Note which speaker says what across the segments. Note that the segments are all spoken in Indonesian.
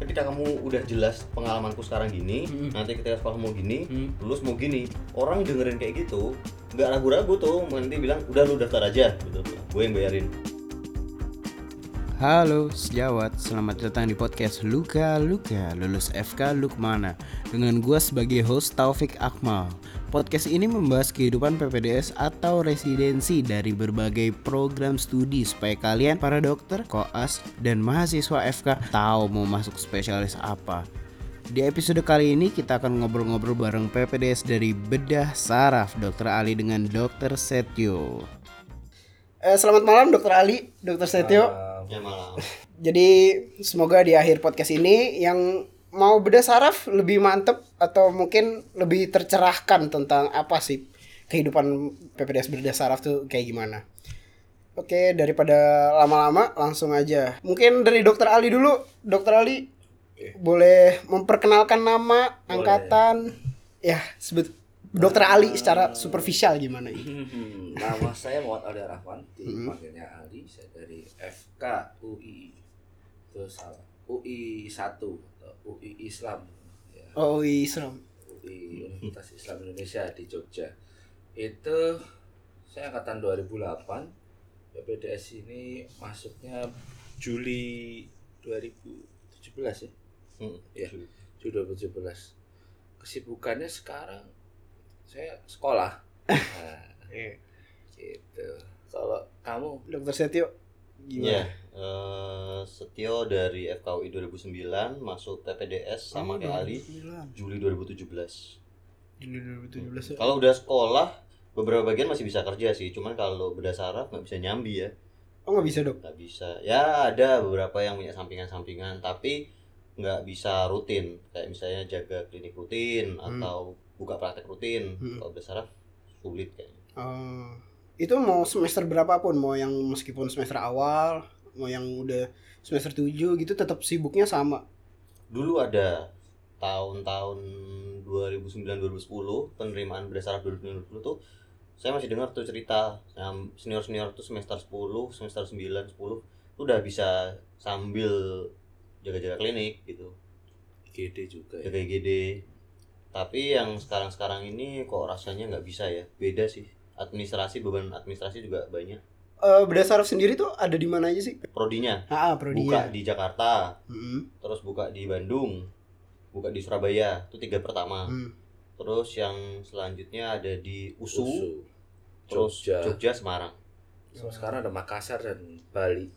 Speaker 1: ketika kamu udah jelas pengalamanku sekarang gini
Speaker 2: Mm.
Speaker 1: nanti ketika sekolah mau gini
Speaker 2: Mm.
Speaker 1: lulus mau gini orang dengerin kayak gitu nggak ragu-ragu tuh nanti bilang udah lu daftar aja gitu gue yang bayarin
Speaker 2: Halo sejawat, selamat datang di podcast Luka Luka Lulus FK Lukmana Dengan gua sebagai host Taufik Akmal Podcast ini membahas kehidupan PPDS atau residensi dari berbagai program studi Supaya kalian para dokter, koas, dan mahasiswa FK tahu mau masuk spesialis apa di episode kali ini kita akan ngobrol-ngobrol bareng PPDS dari Bedah Saraf Dokter Ali dengan Dokter Setio. Eh, selamat malam Dokter Ali, Dokter Setio.
Speaker 1: ya malam
Speaker 2: Jadi semoga di akhir podcast ini yang mau beda saraf lebih mantep atau mungkin lebih tercerahkan tentang apa sih kehidupan PPDS beda saraf tuh kayak gimana. Oke, daripada lama-lama langsung aja. Mungkin dari Dokter Ali dulu. Dokter Ali boleh memperkenalkan nama, angkatan, ya sebut Dokter Ali secara superficial gimana?
Speaker 3: Hmm, Nama saya Muhammad Ali Rahman, dipanggilnya Ali, saya dari FK UI. Terus salah. UI 1 atau UI Islam. Ya,
Speaker 2: Oh, Islam.
Speaker 3: UI Universitas Islam Indonesia di Jogja. Itu saya angkatan 2008. PPDS ini masuknya Juli 2017 ya.
Speaker 1: Hmm.
Speaker 3: Iya. Juli 2017. Kesibukannya sekarang saya sekolah. Nah, gitu kalau kamu
Speaker 2: Dokter Setio
Speaker 1: Iya,
Speaker 2: gimana?
Speaker 1: eh, Setio dari FKUI 2009 masuk PPDS sama
Speaker 2: Hmm.
Speaker 1: kayak Ali Juli 2017.
Speaker 2: Juli 2017 ya.
Speaker 1: Kalau udah sekolah beberapa bagian masih bisa kerja sih, cuman kalau beda saraf nggak bisa nyambi ya,
Speaker 2: Oh nggak bisa dok?
Speaker 1: nggak bisa. Ya ada beberapa yang punya sampingan-sampingan, tapi nggak bisa rutin. Kayak misalnya jaga klinik rutin
Speaker 2: Hmm.
Speaker 1: atau buka praktek rutin.
Speaker 2: Hmm.
Speaker 1: Kalau beda saraf sulit kayaknya.
Speaker 2: Oh, itu mau semester berapapun, mau yang meskipun semester awal, mau yang udah semester 7 gitu tetap sibuknya sama.
Speaker 1: Dulu ada tahun-tahun 2009-2010 penerimaan beda saraf 2010 tuh saya masih dengar tuh cerita yang senior-senior tuh semester 10, semester 9, 10 tuh udah bisa sambil jaga-jaga klinik gitu,
Speaker 3: GD juga ya
Speaker 1: jaga IGD. Tapi yang sekarang-sekarang ini kok rasanya nggak bisa ya, beda sih. Administrasi beban administrasi juga banyak.
Speaker 2: Eh Beda Saraf sendiri tuh ada di mana aja sih?
Speaker 1: Prodinya
Speaker 2: Ah, Mm-hmm. ah,
Speaker 1: buka
Speaker 2: Prodia.
Speaker 1: di Jakarta,
Speaker 2: Mm-mm.
Speaker 1: terus buka di Bandung, buka di Surabaya, itu tiga pertama.
Speaker 2: Hmm.
Speaker 1: Terus yang selanjutnya ada di
Speaker 3: Usu,
Speaker 1: USU, terus
Speaker 3: Jogja,
Speaker 1: Jogja, Semarang.
Speaker 3: Terus sekarang ada Makassar dan Bali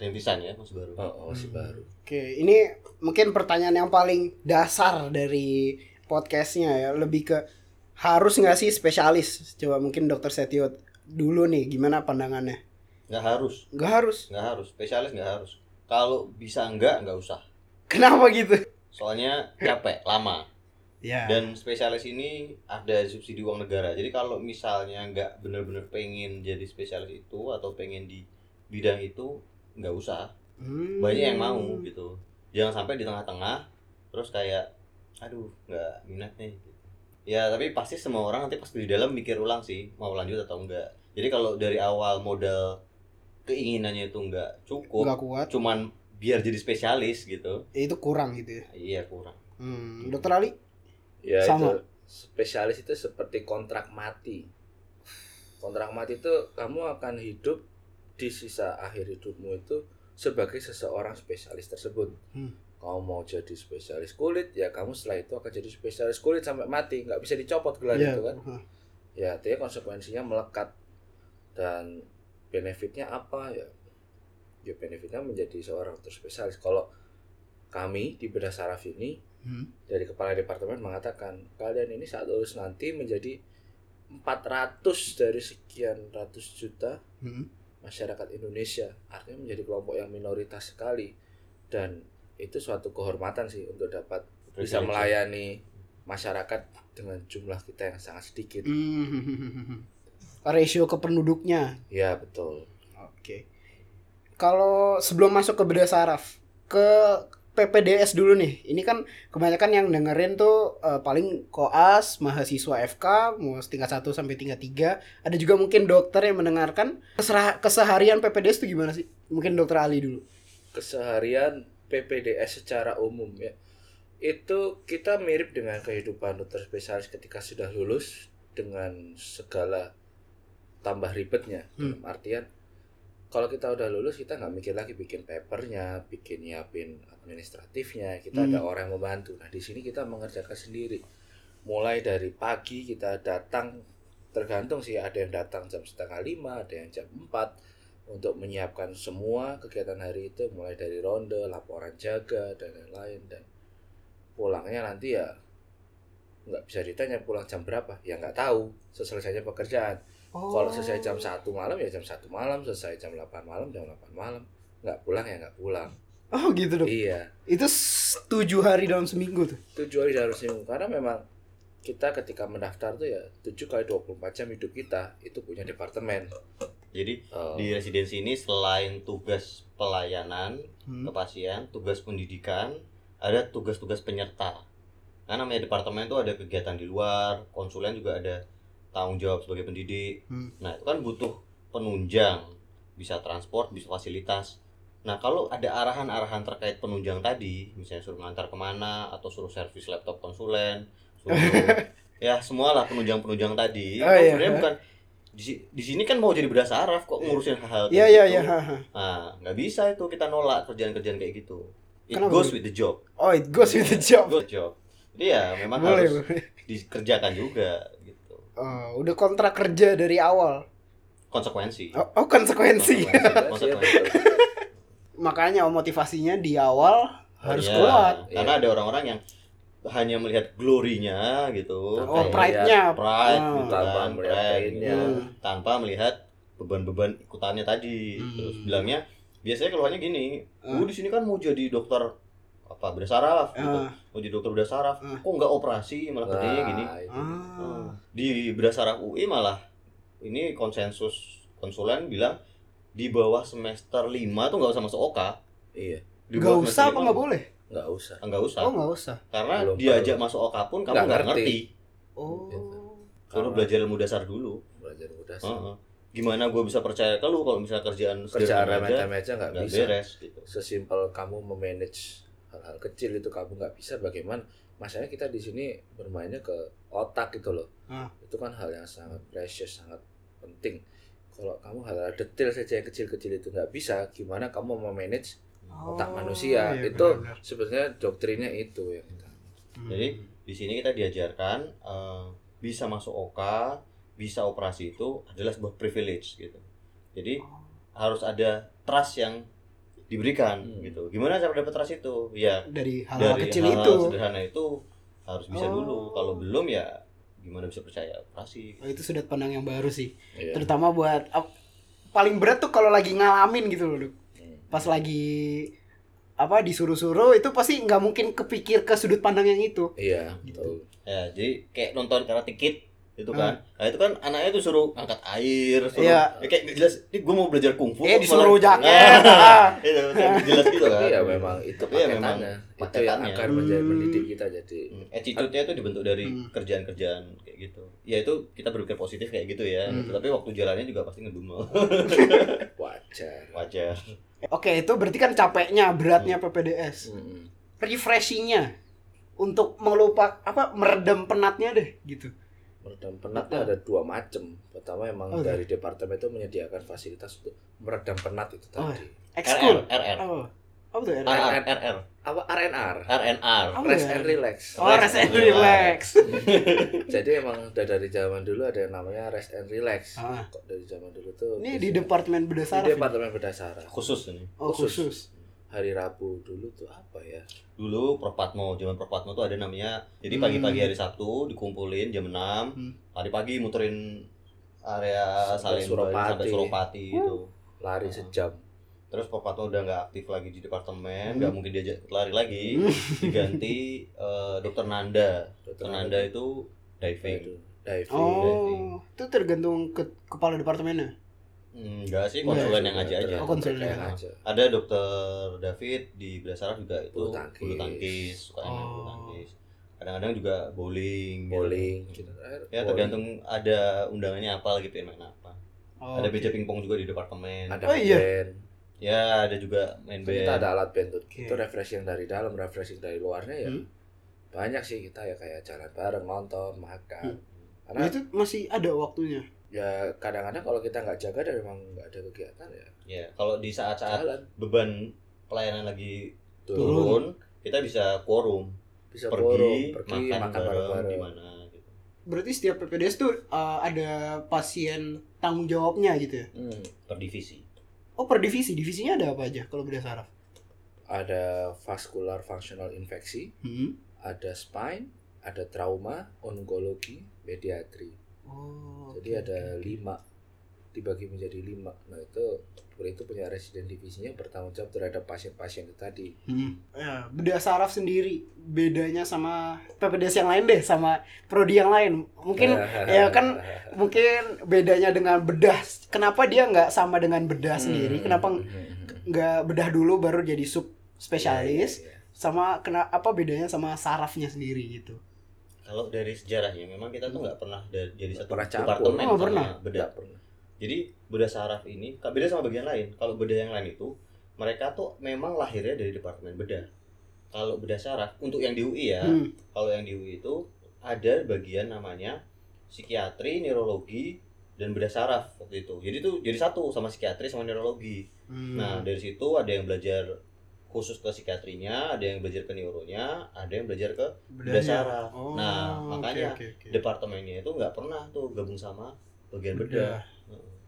Speaker 1: Rintisan ya Mas Baru.
Speaker 3: oh, oh masih
Speaker 2: Hmm.
Speaker 3: baru
Speaker 2: Oke, ini mungkin pertanyaan yang paling dasar dari podcastnya ya, lebih ke harus nggak sih spesialis? Coba mungkin Dokter Setio dulu nih, gimana pandangannya?
Speaker 1: Nggak harus,
Speaker 2: Nggak harus.
Speaker 1: nggak harus. Spesialis nggak harus. Kalau bisa nggak, nggak usah.
Speaker 2: Kenapa gitu?
Speaker 1: Soalnya capek, lama.
Speaker 2: Ya.
Speaker 1: Dan spesialis ini ada subsidi uang negara. Jadi kalau misalnya nggak bener-bener pengen jadi spesialis itu atau pengen di bidang itu, nggak usah.
Speaker 2: Hmm.
Speaker 1: Banyak yang mau gitu. Jangan sampai di tengah-tengah, terus kayak, aduh, nggak minat nih. gitu. Ya tapi pasti semua orang nanti pas di dalam mikir ulang sih mau lanjut atau enggak. Jadi kalau dari awal modal keinginannya itu nggak cukup,
Speaker 2: nggak kuat
Speaker 1: cuman biar jadi spesialis gitu
Speaker 2: ya itu kurang gitu ya
Speaker 1: iya kurang
Speaker 2: hmm. dokter Ali
Speaker 3: ya
Speaker 2: Sama.
Speaker 3: itu spesialis itu seperti kontrak mati kontrak mati itu kamu akan hidup di sisa akhir hidupmu itu sebagai seseorang spesialis tersebut
Speaker 2: Hmm.
Speaker 3: kamu mau jadi spesialis kulit ya kamu setelah itu akan jadi spesialis kulit sampai mati nggak bisa dicopot gelar
Speaker 2: Iya.
Speaker 3: itu kan
Speaker 2: Hah.
Speaker 3: ya artinya konsekuensinya melekat dan benefitnya apa ya ya benefitnya menjadi seorang dokter spesialis kalau kami di bedah saraf ini
Speaker 2: Hmm.
Speaker 3: dari kepala departemen mengatakan kalian ini saat lulus nanti menjadi 400 dari sekian ratus juta
Speaker 2: Hmm.
Speaker 3: masyarakat Indonesia artinya menjadi kelompok yang minoritas sekali dan itu suatu kehormatan sih untuk dapat
Speaker 1: ya.
Speaker 3: bisa melayani masyarakat dengan jumlah kita yang sangat sedikit
Speaker 2: Hmm. Ratio ke penduduknya.
Speaker 3: ya betul
Speaker 2: Oke. Kalau sebelum masuk ke beda saraf, ke PPDS dulu nih. Ini kan kebanyakan yang dengerin tuh eh, paling koas, mahasiswa FK, mau tingkat 1 sampai tingkat 3. Ada juga mungkin dokter yang mendengarkan. Keserah- keseharian PPDS itu gimana sih? Mungkin dokter Ali dulu.
Speaker 3: keseharian PPDS secara umum ya itu kita mirip dengan kehidupan dokter spesialis ketika sudah lulus dengan segala tambah ribetnya
Speaker 2: Hmm.
Speaker 3: Dalam artian kalau kita udah lulus kita nggak mikir lagi bikin papernya bikin nyiapin administratifnya kita ada orang yang membantu nah di sini kita mengerjakan sendiri mulai dari pagi kita datang tergantung sih ada yang datang jam setengah lima ada yang jam empat untuk menyiapkan semua kegiatan hari itu mulai dari ronde laporan jaga dan lain-lain dan pulangnya nanti ya nggak bisa ditanya pulang jam berapa ya nggak tahu selesainya pekerjaan kalau selesai
Speaker 1: Oh.
Speaker 3: jam satu malam ya jam satu malam selesai jam 8 malam jam 8 malam nggak pulang ya nggak pulang
Speaker 2: Oh gitu dong.
Speaker 3: iya
Speaker 2: Itu s- tujuh hari dalam seminggu tuh.
Speaker 3: tujuh hari harus seminggu karena memang kita ketika mendaftar tuh ya 7 kali 24 jam hidup kita itu punya departemen
Speaker 1: Jadi
Speaker 3: Eh,
Speaker 1: di residensi ini selain tugas pelayanan
Speaker 2: Hmm.
Speaker 1: ke pasien, tugas pendidikan, ada tugas-tugas penyerta. Karena namanya departemen itu ada kegiatan di luar, konsulen juga ada tanggung jawab sebagai pendidik.
Speaker 2: Hmm.
Speaker 1: Nah, itu kan butuh penunjang, bisa transport, bisa fasilitas. Nah, kalau ada arahan-arahan terkait penunjang tadi, misalnya suruh ngantar kemana, atau suruh servis laptop konsulen, suruh ya semualah penunjang-penunjang tadi.
Speaker 2: Oh,
Speaker 1: Kan
Speaker 2: iya.
Speaker 1: Sebenarnya bukan di, si- di sini kan mau jadi beda saraf kok ngurusin hal-hal
Speaker 2: Iya
Speaker 1: kayak
Speaker 2: iya
Speaker 1: gitu.
Speaker 2: iya. ha, ha.
Speaker 1: Nah, nggak bisa itu kita nolak kerjaan-kerjaan kayak gitu. It
Speaker 2: Kenapa?
Speaker 1: goes with the job.
Speaker 2: Oh it goes with the job.
Speaker 1: Goes with the job. Jadi ya memang
Speaker 2: Boleh
Speaker 1: harus
Speaker 2: boleh.
Speaker 1: dikerjakan juga gitu.
Speaker 2: Oh, udah kontrak kerja dari awal.
Speaker 1: Konsekuensi.
Speaker 2: Oh, Iya, oh, konsekuensi.
Speaker 1: Konsekuensi. Konsekuensi.
Speaker 3: Nah,
Speaker 2: Makanya oh, motivasinya di awal harus
Speaker 1: Iya,
Speaker 2: kuat.
Speaker 1: Karena
Speaker 3: Iya.
Speaker 1: ada orang-orang yang hanya melihat glorinya gitu.
Speaker 2: Oh
Speaker 1: Kayak
Speaker 2: pride-nya.
Speaker 1: pride
Speaker 2: Ah.
Speaker 1: gitu kan,
Speaker 3: Tanpa melihat
Speaker 1: pride
Speaker 3: painnya.
Speaker 1: gitu. Tanpa melihat beban-beban ikutannya tadi.
Speaker 2: Hmm.
Speaker 1: Terus bilangnya biasanya keluarnya gini,
Speaker 2: Ah.
Speaker 1: "Gue di sini kan mau jadi dokter apa beda saraf gitu.
Speaker 2: Ah,
Speaker 1: mau jadi dokter bedah saraf
Speaker 2: Ah.
Speaker 1: kok nggak operasi malah kerjanya gini
Speaker 2: ah.
Speaker 1: di bedah saraf UI malah ini konsensus konsulen bilang di bawah semester 5 tuh nggak usah masuk OKA
Speaker 3: iya
Speaker 1: di
Speaker 2: Nggak
Speaker 1: bawah
Speaker 2: usah
Speaker 1: semester
Speaker 2: apa
Speaker 1: lima
Speaker 2: nggak boleh?
Speaker 3: nggak usah
Speaker 1: nggak usah
Speaker 2: Oh nggak usah.
Speaker 1: karena
Speaker 3: Belum
Speaker 1: diajak
Speaker 3: perlu.
Speaker 1: masuk OKA pun kamu
Speaker 3: Nggak
Speaker 1: nggak
Speaker 3: ngerti. Ah.
Speaker 1: ngerti
Speaker 2: Oh.
Speaker 1: Perlu
Speaker 3: Karena
Speaker 1: belajar ilmu dasar dulu
Speaker 3: belajar udah sih.
Speaker 1: Heeh. gimana gue bisa percaya ke lu kalau misalnya kerjaan
Speaker 3: kerjaan
Speaker 1: sederhana aja
Speaker 3: remeh-temeh aja nggak
Speaker 1: nggak
Speaker 3: bisa
Speaker 1: beres gitu
Speaker 3: sesimpel kamu memanage hal-hal kecil itu kamu nggak bisa bagaimana masalahnya kita di sini bermainnya ke otak gitu loh
Speaker 2: Ah.
Speaker 3: itu kan hal yang sangat precious sangat penting kalau kamu hal-hal detail saja yang kecil-kecil itu nggak bisa gimana kamu memanage otak
Speaker 2: Oh,
Speaker 3: manusia
Speaker 2: iya,
Speaker 3: itu
Speaker 2: benar-benar.
Speaker 3: sebenarnya doktrinnya itu ya kita
Speaker 1: Jadi-
Speaker 2: Hmm.
Speaker 1: di sini kita diajarkan eh, bisa masuk OKA bisa operasi itu adalah sebuah privilege gitu jadi
Speaker 2: Oh.
Speaker 1: harus ada trust yang diberikan
Speaker 3: Hmm.
Speaker 1: gitu. Gimana cara dapat trust itu? Ya
Speaker 2: dari hal-hal
Speaker 1: dari
Speaker 2: kecil
Speaker 1: hal-hal
Speaker 2: itu.
Speaker 1: sederhana itu harus bisa
Speaker 2: Oh.
Speaker 1: dulu. Kalau belum ya gimana bisa percaya operasi?
Speaker 2: Oh, itu sudut pandang yang baru sih.
Speaker 3: Iya.
Speaker 2: Terutama buat ap- paling berat tuh kalau lagi ngalamin gitu loh. Dok.
Speaker 3: Hmm.
Speaker 2: Pas lagi apa disuruh-suruh itu pasti nggak mungkin kepikir ke sudut pandang yang itu.
Speaker 3: iya
Speaker 2: Gitu.
Speaker 3: betul.
Speaker 1: Ya, jadi kayak nonton karate kid itu kan. Nah, itu kan anaknya tuh suruh angkat air, suruh
Speaker 2: Hmm. Iya.
Speaker 1: ya, kayak nggak jelas, ini gue mau belajar kungfu.
Speaker 2: Eh
Speaker 1: kok
Speaker 2: disuruh
Speaker 1: malah-
Speaker 2: jaket.
Speaker 1: Nah,
Speaker 2: ah.
Speaker 1: Itu kayak nggak jelas gitu kan.
Speaker 3: tapi ya memang itu
Speaker 1: Tapi ya memang
Speaker 3: paketannya itu yang
Speaker 1: paketannya.
Speaker 3: akan menjadi
Speaker 2: Hmm.
Speaker 3: pendidik kita jadi
Speaker 1: Hmm, attitude-nya itu dibentuk dari
Speaker 2: Hmm.
Speaker 1: kerjaan-kerjaan kayak gitu. Ya itu kita berpikir positif kayak gitu ya.
Speaker 2: Hmm.
Speaker 1: Tapi waktu jalannya juga pasti ngedumel.
Speaker 3: wajar
Speaker 1: Wajar.
Speaker 2: Oke, itu berarti kan capeknya, beratnya PPDS.
Speaker 3: Mm-mm.
Speaker 2: Refreshingnya untuk melupak apa meredam penatnya deh gitu.
Speaker 3: Meredam penatnya ada dua macam. Pertama emang
Speaker 2: Oke.
Speaker 3: dari departemen itu menyediakan fasilitas untuk meredam penat itu
Speaker 2: Oh,
Speaker 1: RR,
Speaker 3: tadi.
Speaker 2: Ekskul.
Speaker 1: RR.
Speaker 2: Oh. Apa tuh RR?
Speaker 1: RR, RR,
Speaker 3: Apa RNR?
Speaker 1: RNR.
Speaker 2: Oh,
Speaker 3: Rest
Speaker 2: iya.
Speaker 3: and relax.
Speaker 2: Oh, rest and relax.
Speaker 3: Jadi emang udah dari zaman dulu ada yang namanya rest and relax.
Speaker 2: Ah.
Speaker 3: Kok dari zaman dulu tuh
Speaker 2: Ini
Speaker 3: biasanya-
Speaker 2: di departemen beda
Speaker 3: di
Speaker 2: saraf. ya?
Speaker 3: departemen bedah saraf.
Speaker 1: Khusus ini.
Speaker 2: Oh,
Speaker 3: khusus.
Speaker 2: khusus.
Speaker 3: Hari Rabu dulu tuh apa ya?
Speaker 1: Dulu Prof Patmo, zaman Prof Patmo tuh ada namanya. Jadi
Speaker 2: Hmm.
Speaker 1: pagi-pagi hari Sabtu dikumpulin jam 6.
Speaker 2: Hmm.
Speaker 1: Pagi-pagi muterin area
Speaker 3: Sampai
Speaker 1: Salemba sampai
Speaker 3: Suropati.
Speaker 1: Suropati itu. Ah.
Speaker 3: Lari sejam.
Speaker 1: Terus Prof Patmo udah nggak aktif lagi di departemen,
Speaker 2: Hmm.
Speaker 1: nggak mungkin diajak lari lagi. Diganti eh, Dokter Nanda. Dokter Nanda itu diving.
Speaker 3: Diving. Diving.
Speaker 2: Oh, itu tergantung ke kepala departemennya.
Speaker 1: Hmm, Enggak
Speaker 3: Iya,
Speaker 1: sih,
Speaker 2: Nggak,
Speaker 1: konsulen yang aja aja.
Speaker 2: Oh, konsulen
Speaker 3: Konsulen
Speaker 2: yang
Speaker 3: aja.
Speaker 1: ada dokter David di Brasara juga itu
Speaker 3: Bulu tangkis.
Speaker 1: bulu tangkis suka main bulu
Speaker 2: Oh.
Speaker 1: tangkis kadang-kadang juga bowling gitu.
Speaker 3: Bowling.
Speaker 1: ya tergantung ada undangannya apa lagi pengen main apa
Speaker 2: Oh,
Speaker 1: ada meja pingpong juga di departemen
Speaker 3: Ada
Speaker 2: Oh, iya.
Speaker 3: band.
Speaker 1: ya ada juga main band
Speaker 3: kita ada alat band tuh.
Speaker 2: Oke.
Speaker 3: Itu refreshing dari dalam, refreshing dari luarnya ya.
Speaker 2: Hmm.
Speaker 3: Banyak sih kita ya kayak jalan bareng, nonton, makan. Karena
Speaker 2: Nah, itu masih ada waktunya.
Speaker 3: ya kadang-kadang kalau kita nggak jaga dan memang nggak ada kegiatan ya
Speaker 1: ya kalau di saat-saat
Speaker 3: jalan
Speaker 1: beban pelayanan lagi
Speaker 3: Tuh.
Speaker 2: Turun.
Speaker 1: turun kita bisa quorum
Speaker 3: bisa
Speaker 1: pergi,
Speaker 3: quorum, pergi
Speaker 1: makan,
Speaker 3: makan
Speaker 1: bareng,
Speaker 3: bareng-bareng.
Speaker 1: di mana gitu
Speaker 2: Berarti setiap PPDS tuh uh, ada pasien tanggung jawabnya gitu ya.
Speaker 3: Hmm.
Speaker 1: per divisi
Speaker 2: Oh, per divisi. Divisinya ada apa aja kalau beda saraf?
Speaker 3: ada vascular functional infeksi
Speaker 2: Hmm.
Speaker 3: ada spine ada trauma onkologi pediatri
Speaker 2: Oh.
Speaker 3: jadi
Speaker 2: oke,
Speaker 3: ada
Speaker 2: oke.
Speaker 3: lima dibagi menjadi lima nah itu Puri itu punya residen divisinya bertanggung jawab terhadap pasien-pasien itu tadi
Speaker 2: Hmm. Ya, beda saraf sendiri bedanya sama PPDS yang lain deh sama prodi yang lain. Mungkin ya
Speaker 3: Nah.
Speaker 2: kan, mungkin bedanya dengan bedah. Kenapa dia nggak sama dengan bedah sendiri?
Speaker 3: Hmm.
Speaker 2: Kenapa
Speaker 3: Hmm.
Speaker 2: nggak bedah dulu baru jadi sub spesialis?
Speaker 1: Ya,
Speaker 3: Iya, iya, iya.
Speaker 2: sama kena apa bedanya sama sarafnya sendiri gitu.
Speaker 1: kalau dari sejarahnya memang kita tuh nggak pernah da- jadi
Speaker 3: Nggak
Speaker 1: satu
Speaker 3: pernah campur.
Speaker 1: departemen
Speaker 2: Oh,
Speaker 1: sama
Speaker 2: pernah.
Speaker 1: beda
Speaker 3: Nggak pernah.
Speaker 1: jadi beda saraf ini ka- beda sama bagian lain kalau beda yang lain itu mereka tuh memang lahirnya dari departemen beda kalau beda saraf untuk yang di UI ya
Speaker 2: Hmm.
Speaker 1: kalau yang di UI itu ada bagian namanya psikiatri neurologi dan beda saraf waktu itu jadi tuh jadi satu sama psikiatri sama neurologi
Speaker 2: Hmm.
Speaker 1: Nah, dari situ ada yang belajar khusus ke psikiatrinya, ada yang belajar ke neuronya, ada yang belajar ke beda saraf.
Speaker 2: Oh,
Speaker 1: Nah, makanya
Speaker 2: Iya.
Speaker 1: departemennya itu nggak pernah tuh gabung sama bagian bedah.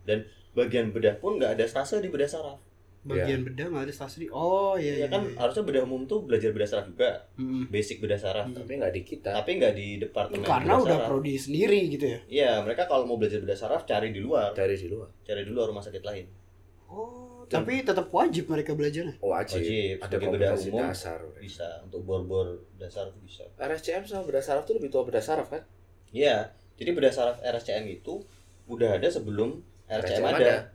Speaker 1: Dan bagian bedah pun nggak ada stase di bedah saraf.
Speaker 2: bagian bedah nggak ada stasi. Oh iya Hmm.
Speaker 1: Ya kan Nah, harusnya bedah umum tuh belajar bedah saraf juga,
Speaker 2: Mm-mm.
Speaker 1: basic bedah saraf.
Speaker 2: Mm.
Speaker 3: tapi nggak di kita
Speaker 1: Tapi nggak di departemen
Speaker 2: Karena
Speaker 1: nah, bedah
Speaker 2: udah
Speaker 1: saraf.
Speaker 2: prodi sendiri gitu ya.
Speaker 1: Iya, mereka kalau mau belajar bedah saraf cari di luar,
Speaker 3: dari di luar
Speaker 1: cari di luar rumah sakit lain.
Speaker 2: Oh, tapi tetap wajib mereka belajarnya.
Speaker 3: Oh, wajib,
Speaker 1: Wajib,
Speaker 3: ada
Speaker 1: sebagai bedah
Speaker 3: kompetensi
Speaker 1: umum
Speaker 3: dasar
Speaker 1: bisa untuk bor-bor dasar tuh bisa.
Speaker 3: RSCM sama bedah saraf tuh lebih tua bedah saraf kan?
Speaker 1: Iya, jadi beda saraf RSCM itu udah ada sebelum RSCM, ada.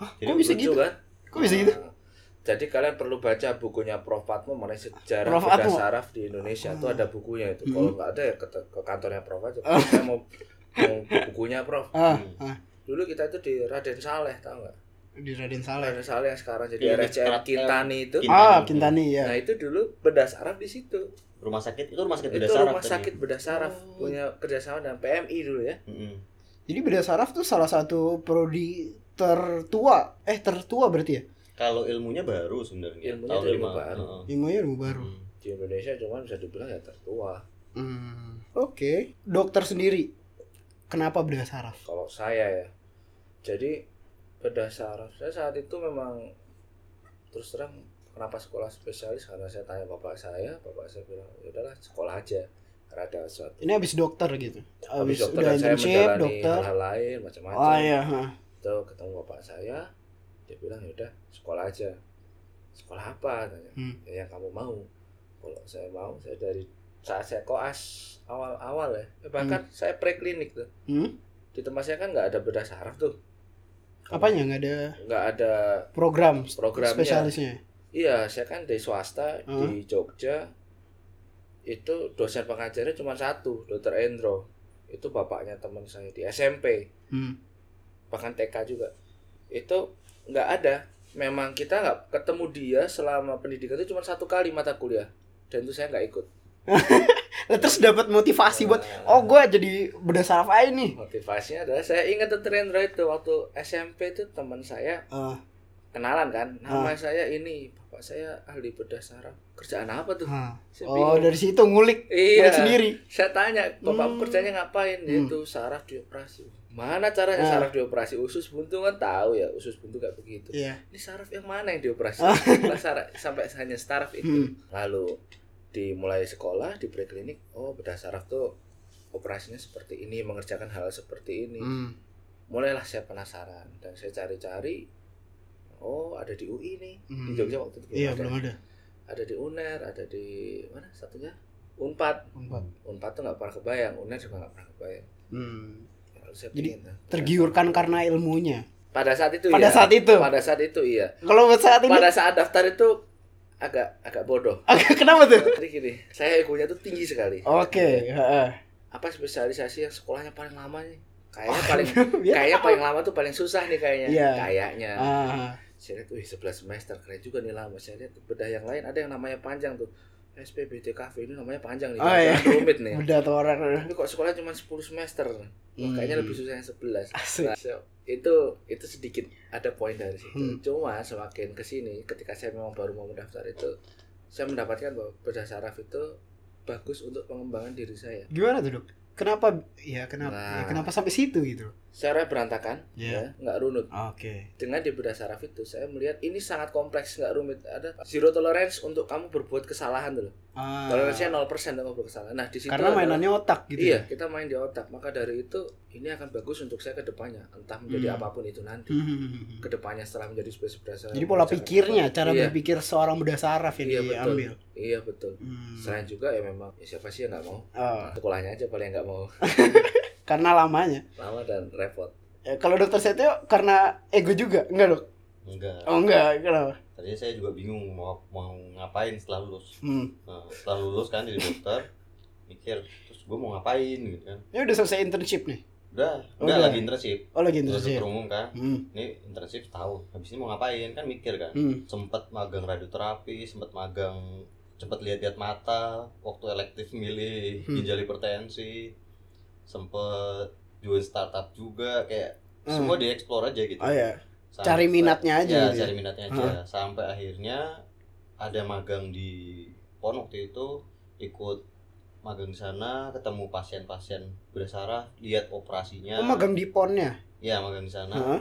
Speaker 2: Hah,
Speaker 1: Jadi
Speaker 2: kok bisa
Speaker 3: Lucu
Speaker 2: gitu?
Speaker 3: kan?
Speaker 2: Kok bisa gitu?
Speaker 3: Nah, Jadi kalian perlu baca bukunya Prof Patmo mengenai sejarah
Speaker 2: Prof
Speaker 3: bedah
Speaker 2: Patmo?
Speaker 3: saraf di Indonesia. Itu
Speaker 2: Ah.
Speaker 3: ada bukunya itu.
Speaker 2: Hmm.
Speaker 3: Kalau nggak ada ya ke, ke kantornya Prof aja.
Speaker 2: Ah.
Speaker 3: Saya mau, mau bukunya Prof.
Speaker 2: Ah,
Speaker 1: Hmm.
Speaker 2: ah,
Speaker 3: Dulu kita itu di Raden Saleh, tau nggak?
Speaker 2: di Raden Saleh.
Speaker 3: Raden Saleh yang sekarang
Speaker 1: Iya,
Speaker 3: jadi RSCM
Speaker 1: Kintani.
Speaker 3: Kintani itu.
Speaker 1: Kintani.
Speaker 2: Ah, Kintani ya.
Speaker 3: Nah itu dulu bedah saraf di situ.
Speaker 1: Rumah sakit itu rumah sakit beda
Speaker 3: Itu
Speaker 1: saraf.
Speaker 3: rumah
Speaker 1: tadi.
Speaker 3: sakit bedah saraf
Speaker 2: Oh.
Speaker 3: punya kerjasama dengan PMI dulu ya.
Speaker 1: Mm-mm.
Speaker 2: Jadi bedah saraf tuh salah satu prodi tertua. Eh, tertua berarti ya?
Speaker 1: Kalau ilmunya baru sebenarnya.
Speaker 3: Ilmunya
Speaker 1: Tahun
Speaker 3: tuh ilmu
Speaker 1: lima-
Speaker 3: ya, baru.
Speaker 1: Heeh.
Speaker 2: Ilmunya ilmu baru.
Speaker 1: Hmm.
Speaker 3: Di Indonesia cuman bisa dibilang ya tertua.
Speaker 2: Hmm. Oke, dokter sendiri. Kenapa bedah saraf?
Speaker 3: kalau saya ya jadi bedah saraf saya saat itu memang terus terang kenapa sekolah spesialis karena saya tanya bapak saya bapak saya bilang ya udahlah sekolah aja karena ada suatu
Speaker 2: Ini habis dokter gitu.
Speaker 3: Habis
Speaker 2: Habis, udah
Speaker 3: dan saya
Speaker 2: internship
Speaker 3: menjalani
Speaker 2: dokter.
Speaker 3: hal-hal lain macam-macam
Speaker 2: Oh iya, ha.
Speaker 3: Itu Gitu, ketemu bapak saya dia bilang ya udah sekolah aja sekolah apa tanya
Speaker 2: Hmm.
Speaker 3: ya yang kamu mau kalau saya mau saya dari saat saya koas awal-awal ya eh, bahkan saya preklinik tuh
Speaker 2: Hmm?
Speaker 3: di tempat saya kan nggak ada bedah saraf tuh
Speaker 2: Apanya nggak ada
Speaker 3: nggak ada
Speaker 2: program
Speaker 3: programnya
Speaker 2: spesialisnya?
Speaker 3: iya saya kan dari swasta
Speaker 2: Hmm.
Speaker 3: di Jogja itu dosen pengajarnya cuma satu dokter Endro itu bapaknya teman saya di SMP
Speaker 2: Hmm.
Speaker 3: bahkan TK juga itu nggak ada memang kita nggak ketemu dia selama pendidikan itu cuma satu kali mata kuliah dan itu saya nggak ikut
Speaker 2: Lah, terus dapat motivasi buat
Speaker 3: Nah.
Speaker 2: oh gua jadi bedah saraf aja nih.
Speaker 3: motivasinya adalah saya ingat dokter Endro itu waktu SMP itu teman saya
Speaker 2: Ah.
Speaker 3: kenalan kan nama saya ini bapak saya ahli bedah saraf kerjaan apa tuh
Speaker 2: Ha.
Speaker 3: Saya
Speaker 2: Oh
Speaker 3: bingung.
Speaker 2: dari situ ngulik,
Speaker 3: Iya.
Speaker 2: ngulik sendiri.
Speaker 3: Saya tanya, Bapak
Speaker 2: Hmm.
Speaker 3: kerjanya
Speaker 2: Hmm.
Speaker 3: ngapain? Yaitu saraf dioperasi. Mana caranya
Speaker 2: Ah.
Speaker 3: saraf dioperasi? Usus buntu kan tahu ya, usus buntu kayak begitu.
Speaker 2: Iya.
Speaker 3: Ini saraf yang mana yang dioperasi?
Speaker 2: Ah.
Speaker 3: Lah, saraf- sampai hanya saraf itu.
Speaker 2: Hmm.
Speaker 3: Lalu dimulai sekolah di preklinik, oh bedah saraf tuh operasinya seperti ini, mengerjakan hal seperti ini.
Speaker 2: Hmm.
Speaker 3: Mulailah saya penasaran dan saya cari-cari. Oh, ada di UI nih. Di
Speaker 2: Hmm.
Speaker 3: Jogja waktu itu belum
Speaker 2: Iya
Speaker 3: ada.
Speaker 2: belum ada.
Speaker 3: Ada di UNER, ada di mana satunya? Unpad.
Speaker 2: Empat.
Speaker 3: Unpad tuh nggak pernah kebayang, UNER juga nggak pernah kebayang.
Speaker 2: Hmm.
Speaker 3: Lalu saya
Speaker 2: Jadi,
Speaker 3: pengen, nah,
Speaker 2: Tergiurkan karena ilmunya.
Speaker 3: pada saat itu
Speaker 2: Pada
Speaker 3: iya.
Speaker 2: saat itu.
Speaker 3: pada saat itu iya.
Speaker 2: Kalau buat saat ini
Speaker 3: Pada saat daftar itu agak agak bodoh.
Speaker 2: kenapa tuh?
Speaker 3: Jadi gini, saya egonya tuh tinggi sekali. Iya.
Speaker 2: Oke, heeh.
Speaker 3: Apa spesialisasi yang sekolahnya paling lama nih? Kayaknya Oh, paling
Speaker 2: Biar
Speaker 3: kayaknya
Speaker 2: tahu.
Speaker 3: paling lama tuh paling susah nih kayaknya.
Speaker 2: Oh, Iya.
Speaker 3: Kayaknya.
Speaker 2: Ah,
Speaker 3: saya lihat wih 11 semester keren juga nih lama saya lihat bedah yang lain ada yang namanya panjang tuh SPBDKV ini namanya panjang nih
Speaker 2: Oh,
Speaker 3: jangan-
Speaker 2: iya.
Speaker 3: jangan rumit nih
Speaker 2: Udah orang
Speaker 3: tapi kok sekolah cuma 10 semester Wah, Oh, kayaknya lebih susah yang 11
Speaker 2: Hmm. Asik.
Speaker 3: Nah, so, itu itu sedikit ada poin dari situ
Speaker 2: Hmm.
Speaker 3: cuma semakin kesini ketika saya memang baru mau mendaftar itu saya mendapatkan bahwa bedah saraf itu bagus untuk pengembangan diri saya
Speaker 2: Gimana tuh dok? Kenapa? Ya kenapa? ya,
Speaker 3: Nah.
Speaker 2: kenapa sampai situ gitu?
Speaker 3: secara berantakan
Speaker 2: Iya.
Speaker 3: ya nggak runut
Speaker 2: Oke.
Speaker 3: dengan di bedah saraf itu saya melihat ini sangat kompleks nggak rumit ada zero tolerance untuk kamu berbuat kesalahan dulu
Speaker 2: Ah,
Speaker 3: toleransinya 0% untuk berbuat kesalahan nah di situ
Speaker 2: karena
Speaker 3: adalah-
Speaker 2: mainannya otak gitu. ya?
Speaker 3: iya kita main di otak maka dari itu ini akan bagus untuk saya ke depannya entah menjadi
Speaker 2: Hmm.
Speaker 3: apapun itu nanti
Speaker 2: Hmm.
Speaker 3: ke depannya setelah menjadi spesies berasal
Speaker 2: Jadi pola pikirnya, cara
Speaker 3: iya,
Speaker 2: berpikir seorang muda saraf yang
Speaker 3: Iya, betul.
Speaker 2: diambil.
Speaker 3: iya betul
Speaker 2: Hmm.
Speaker 3: selain juga ya memang ya siapa sih yang nggak mau
Speaker 2: Oh,
Speaker 3: sekolahnya aja paling nggak mau
Speaker 2: karena lamanya.
Speaker 3: lama dan repot
Speaker 2: Eh, kalau dokter Setio karena ego juga, enggak dok?
Speaker 1: Mm, Enggak.
Speaker 2: Oh enggak, kenapa?
Speaker 1: Tadinya saya juga bingung mau mau ngapain setelah lulus.
Speaker 2: Hmm.
Speaker 1: Nah, setelah lulus kan jadi dokter, mikir terus gue mau ngapain gitu kan.
Speaker 2: Ini Ya udah selesai internship nih.
Speaker 1: Udah,
Speaker 2: Oh,
Speaker 1: enggak
Speaker 2: udah.
Speaker 1: lagi internship.
Speaker 2: Oh lagi
Speaker 1: Terus
Speaker 2: internship.
Speaker 1: umum kan.
Speaker 2: Hmm.
Speaker 1: Ini internship setahun. Habis ini mau ngapain kan mikir kan.
Speaker 2: Hmm.
Speaker 1: Sempet magang radioterapi, sempet magang sempet lihat-lihat mata, waktu elektif milih
Speaker 2: Hmm.
Speaker 1: ginjal hipertensi, sempet join startup juga kayak
Speaker 2: Hmm.
Speaker 1: semua dieksplor aja gitu.
Speaker 2: Oh ya.
Speaker 1: Sampai-
Speaker 2: Cari minatnya aja
Speaker 1: ya,
Speaker 2: gitu ya?
Speaker 1: cari minatnya aja sampai akhirnya ada magang di pon waktu itu ikut magang di sana ketemu pasien-pasien berdarah lihat operasinya
Speaker 2: Oh magang di ponnya.
Speaker 1: ya magang di sana
Speaker 2: Heeh.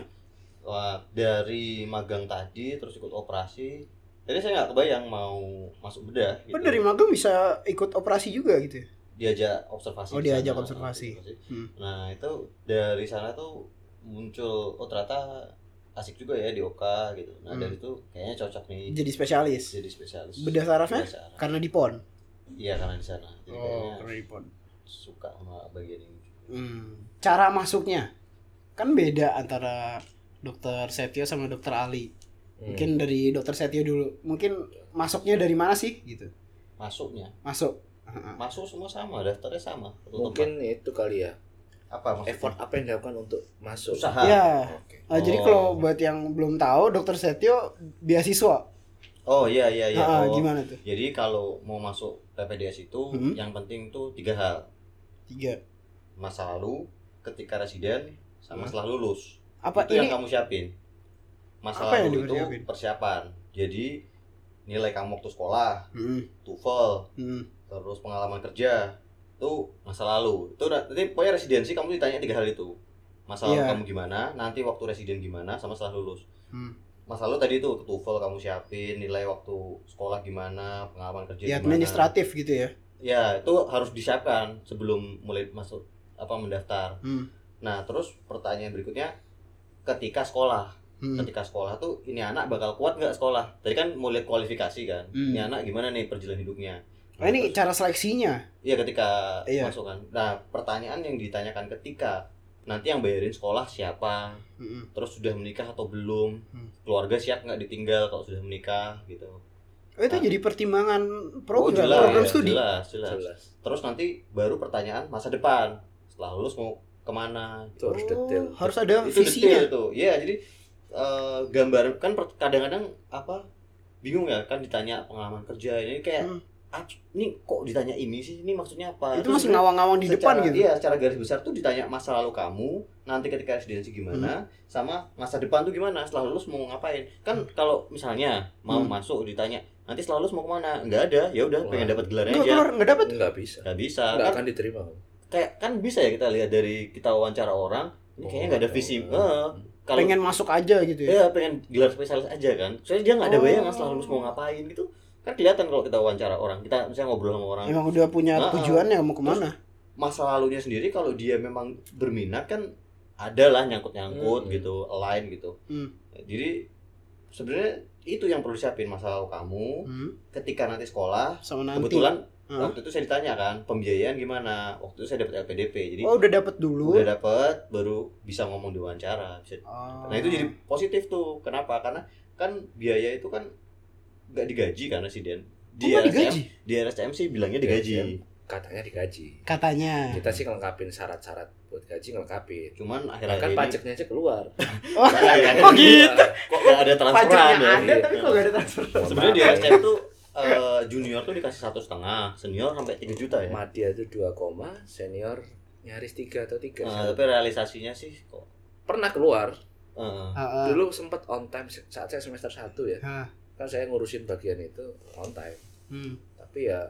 Speaker 1: Wah, dari magang tadi terus ikut operasi jadi saya nggak kebayang mau masuk bedah gitu.
Speaker 2: Oh dari magang bisa ikut operasi juga gitu. ya?
Speaker 1: diajak observasi
Speaker 2: Oh,
Speaker 1: di
Speaker 2: diajak
Speaker 1: sana.
Speaker 2: observasi. Hmm.
Speaker 1: nah itu dari sana tuh muncul oh ternyata asik juga ya di Oka gitu nah
Speaker 2: Hmm.
Speaker 1: dari itu kayaknya cocok nih
Speaker 2: Jadi spesialis.
Speaker 1: jadi spesialis
Speaker 2: Bedah sarafnya?
Speaker 1: Bedah saraf.
Speaker 2: Karena di pon.
Speaker 1: iya karena di sana jadi
Speaker 2: Oh,
Speaker 1: kayaknya
Speaker 2: karena di pon.
Speaker 1: suka sama bagian ini juga.
Speaker 2: Hmm. Cara masuknya kan beda antara dokter Setio sama dokter
Speaker 1: Iya.
Speaker 2: Ali.
Speaker 3: Hmm.
Speaker 2: Mungkin dari dokter Setio dulu. Mungkin masuknya dari mana sih gitu?
Speaker 1: masuknya
Speaker 2: Masuk. Heeh.
Speaker 1: masuk semua sama daftarnya sama Satu tempat.
Speaker 3: mungkin itu kali ya
Speaker 1: apa maksudnya?
Speaker 3: effort apa yang dilakukan untuk masuk
Speaker 1: usaha
Speaker 2: Ya.
Speaker 3: Oke.
Speaker 2: Ah,
Speaker 1: Oh.
Speaker 2: Jadi kalau buat yang belum tahu, dokter Setio beasiswa.
Speaker 1: oh iya iya iya
Speaker 2: Ah, ah,
Speaker 1: Oh.
Speaker 2: gimana tuh?
Speaker 1: jadi kalau mau masuk PPDS itu
Speaker 2: Hmm.
Speaker 1: yang penting tuh tiga hal
Speaker 2: Tiga.
Speaker 1: masa lalu ketika residen sama
Speaker 2: Hmm.
Speaker 1: setelah lulus
Speaker 2: Apa
Speaker 1: itu
Speaker 2: ini?
Speaker 1: yang kamu siapin masa
Speaker 2: Apa yang
Speaker 1: lalu itu
Speaker 2: dipersiapin?
Speaker 1: persiapan jadi nilai kamu waktu sekolah
Speaker 2: Hmm,
Speaker 1: TOEFL
Speaker 2: hmm.
Speaker 1: terus pengalaman kerja itu masa lalu itu na- nanti pokoknya residensi kamu ditanya tiga hal itu masa lalu
Speaker 2: Iya.
Speaker 1: kamu gimana nanti waktu residen gimana sama setelah lulus
Speaker 2: Hmm.
Speaker 1: masa lalu tadi itu TOEFL kamu siapin nilai waktu sekolah gimana pengalaman kerja
Speaker 2: Ya,
Speaker 1: gimana
Speaker 2: administratif gitu ya.
Speaker 1: ya itu harus disiapkan sebelum mulai masuk apa mendaftar
Speaker 2: Hmm.
Speaker 1: nah terus pertanyaan berikutnya ketika sekolah
Speaker 2: Hmm.
Speaker 1: ketika sekolah tuh ini anak bakal kuat nggak sekolah tadi kan mau lihat kualifikasi kan
Speaker 2: Hmm.
Speaker 1: ini anak gimana nih perjalanan hidupnya
Speaker 2: Oh, ini
Speaker 1: Terus-
Speaker 2: cara seleksinya.
Speaker 1: Iya ketika
Speaker 2: Iya.
Speaker 1: masuk kan. Nah pertanyaan yang ditanyakan ketika nanti yang bayarin sekolah siapa,
Speaker 2: Hmm.
Speaker 1: terus sudah menikah atau belum,
Speaker 2: Hmm.
Speaker 1: keluarga siap nggak ditinggal kalau sudah menikah gitu.
Speaker 2: Oh, itu
Speaker 1: Ah.
Speaker 2: jadi pertimbangan program,
Speaker 1: jelas,
Speaker 2: Oh, program
Speaker 1: ya,
Speaker 2: studi.
Speaker 1: Jelas, jelas.
Speaker 3: jelas
Speaker 1: Terus nanti baru pertanyaan masa depan. Setelah lulus mau kemana?
Speaker 3: itu harus detail
Speaker 2: Oh, harus ada
Speaker 1: Itu
Speaker 2: visinya.
Speaker 1: detail tuh. Iya jadi eh, gambar kan per- kadang-kadang apa bingung ya kan ditanya pengalaman kerja ini kayak
Speaker 2: Hmm.
Speaker 1: "Ah, ini kok ditanya ini sih ini maksudnya apa
Speaker 2: Itu
Speaker 1: Terus
Speaker 2: masih ngawang-ngawang di depan
Speaker 1: secara-
Speaker 2: gitu.
Speaker 1: Iya, secara garis besar tuh ditanya masa lalu kamu, nanti ketika residensi gimana, sama masa depan tuh gimana, setelah lulus mau ngapain. Kan kalau misalnya mau
Speaker 2: Hmm.
Speaker 1: masuk ditanya, nanti setelah lulus mau kemana? Enggak ada, ya udah
Speaker 3: Wah.
Speaker 1: pengen dapat gelar
Speaker 2: Enggak
Speaker 1: aja.
Speaker 2: keluar, enggak dapat.
Speaker 3: nggak bisa
Speaker 1: Nggak bisa.
Speaker 3: nggak
Speaker 1: Kan,
Speaker 3: akan diterima
Speaker 1: kayak kan bisa ya kita lihat dari kita wawancara orang, ini kayaknya nggak ada visi.
Speaker 3: Oh.
Speaker 1: Eh, kalau
Speaker 2: Pengen masuk aja gitu ya.
Speaker 1: ya pengen gelar spesialis aja kan. Soalnya dia nggak ada
Speaker 2: Oh.
Speaker 1: bayangan setelah lulus mau ngapain gitu. Kan kelihatan kalau kita wawancara orang, kita misalnya ngobrol sama orang,
Speaker 2: Emang udah punya
Speaker 1: Ah, ah.
Speaker 2: tujuannya mau kemana?
Speaker 1: masa lalunya sendiri kalau dia memang berminat kan adalah nyangkut-nyangkut
Speaker 3: Hmm.
Speaker 1: gitu, align gitu.
Speaker 2: Hmm.
Speaker 1: Jadi sebenarnya itu yang perlu siapin masa lalu kamu
Speaker 2: Hmm,
Speaker 1: ketika nanti sekolah.
Speaker 2: sama nanti.
Speaker 1: Kebetulan
Speaker 2: Hah?
Speaker 1: waktu itu saya ditanya kan pembiayaan gimana. Waktu itu saya dapat LPDP. Jadi
Speaker 2: Oh, udah dapat dulu.
Speaker 1: udah dapat baru bisa ngomong di wawancara. Bisa-
Speaker 2: Oh.
Speaker 1: Nah, itu jadi positif tuh. Kenapa? Karena kan biaya itu kan nggak digaji karena si Den.
Speaker 2: Oh,
Speaker 1: Di
Speaker 2: nggak
Speaker 1: RSCM,
Speaker 2: digaji
Speaker 1: di RSCM sih bilangnya digaji.
Speaker 3: katanya digaji
Speaker 2: katanya.
Speaker 3: kita sih ngelengkapin syarat-syarat buat gaji ngelengkapin
Speaker 1: Cuman akhir-akhir Ya,
Speaker 3: bahkan
Speaker 1: ini
Speaker 3: pajaknya aja keluar
Speaker 2: Oh,
Speaker 1: Pajaknya
Speaker 2: oh gitu.
Speaker 1: kok nggak ada transferan
Speaker 2: Pajaknya ada
Speaker 1: ya?
Speaker 2: tapi kok gak ada transfer.
Speaker 1: Sebenarnya di
Speaker 3: Maaf.
Speaker 1: SCM tuh eh, junior tuh dikasih satu setengah, senior sampai 3 juta ya.
Speaker 3: Madia itu 2 koma, senior nyaris 3 atau 3.
Speaker 1: Nah, tapi realisasinya sih kok
Speaker 3: Pernah keluar.
Speaker 1: eh,
Speaker 2: Heeh.
Speaker 3: Dulu sempat on time se- saat saya semester 1 ya.
Speaker 2: Hah.
Speaker 3: Kan saya ngurusin bagian itu on time.
Speaker 2: Hmm.
Speaker 3: Tapi ya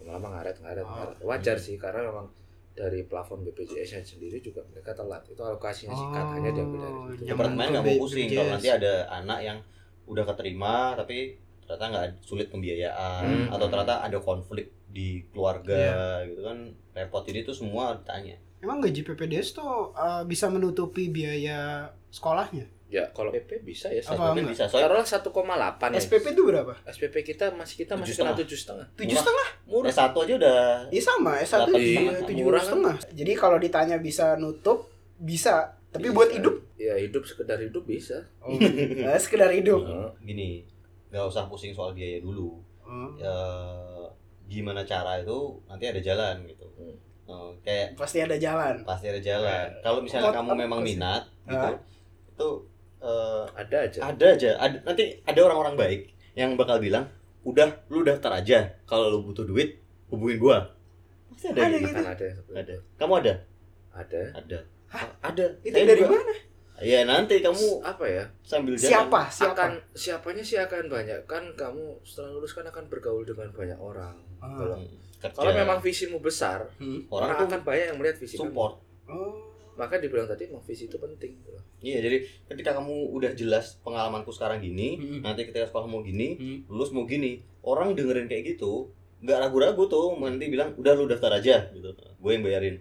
Speaker 3: lama-lama ngaret ngaret
Speaker 2: Oh.
Speaker 3: ngaret. Wajar sih karena memang dari plafon BPJS nya sendiri juga mereka telat. Itu alokasinya singkat hanya diambil dari
Speaker 2: Oh,
Speaker 3: situ.
Speaker 2: Yang
Speaker 1: departemen nggak mau
Speaker 2: mengikuti
Speaker 1: pusing kalau
Speaker 2: BPJS.
Speaker 1: nanti ada anak yang udah keterima tapi ternyata nggak ad- sulit pembiayaan
Speaker 3: Hmm.
Speaker 1: atau ternyata ada konflik di keluarga
Speaker 2: Iya.
Speaker 1: gitu kan repot jadi itu semua ditanya
Speaker 2: Emang gaji PPDS tuh eh, bisa menutupi biaya sekolahnya?
Speaker 3: Ya kalau PP bisa ya.
Speaker 2: Apa?
Speaker 1: tapi
Speaker 2: enggak?
Speaker 1: bisa soalnya
Speaker 3: Taruhlah 1,8 ya.
Speaker 2: SPP itu berapa?
Speaker 3: SPP kita masih kita masih kena 7,5 setengah.
Speaker 2: Tujuh setengah?
Speaker 1: S1 aja udah
Speaker 2: Iya sama, S1
Speaker 1: Delapan
Speaker 2: juga
Speaker 1: setengah.
Speaker 2: tujuh
Speaker 3: Murah kan?
Speaker 2: setengah. Jadi kalau ditanya bisa nutup, bisa. Tapi buat
Speaker 3: Bisa.
Speaker 2: hidup,
Speaker 3: Ya hidup sekedar hidup bisa.
Speaker 2: eh, sekedar hidup.
Speaker 3: Heeh.
Speaker 1: gini nggak usah pusing soal biaya dulu
Speaker 2: Hmm.
Speaker 1: ya, gimana cara itu nanti ada jalan gitu
Speaker 3: Hmm.
Speaker 1: Eh, kayak
Speaker 2: Pasti ada jalan.
Speaker 1: pasti ada jalan kalau misalnya
Speaker 2: Eh, Apa-
Speaker 1: kamu
Speaker 2: apa
Speaker 1: memang
Speaker 2: sih?
Speaker 1: minat gitu
Speaker 2: Ah.
Speaker 1: itu eh,
Speaker 3: Ada aja.
Speaker 1: ada aja ada, nanti ada orang-orang baik yang bakal bilang udah lu daftar aja kalau lu butuh duit hubungin gua pasti ada,
Speaker 2: Ada
Speaker 1: gitu.
Speaker 2: gitu.
Speaker 3: Kan ada yang seperti
Speaker 1: ada
Speaker 3: itu.
Speaker 1: kamu ada
Speaker 3: Ada.
Speaker 1: ada
Speaker 3: Ada.
Speaker 2: Itu
Speaker 1: Saya
Speaker 2: dari
Speaker 1: juga.
Speaker 2: mana?
Speaker 1: ya nanti kamu
Speaker 3: Kamu apa ya?
Speaker 1: sambil jalan
Speaker 2: Siapa? Siapa?
Speaker 3: Akan siapanya sih akan banyak kan kamu setelah lulus kan akan bergaul dengan banyak orang.
Speaker 2: Ah.
Speaker 3: Kalau
Speaker 1: Hmm, kerja.
Speaker 3: kalau memang visimu besar,
Speaker 2: Hmm.
Speaker 1: orang
Speaker 3: orang,
Speaker 1: tuh
Speaker 3: akan banyak yang melihat visi kamu.
Speaker 1: support
Speaker 2: Oh.
Speaker 3: Maka dibilang tadi emang visi itu penting. gitu
Speaker 1: iya jadi ketika kamu udah jelas pengalamanku sekarang gini
Speaker 2: Hmm.
Speaker 1: nanti ketika sekolah mau gini
Speaker 2: Hmm.
Speaker 1: lulus mau gini orang dengerin kayak gitu nggak ragu-ragu tuh nanti bilang udah lu daftar aja gitu gue yang bayarin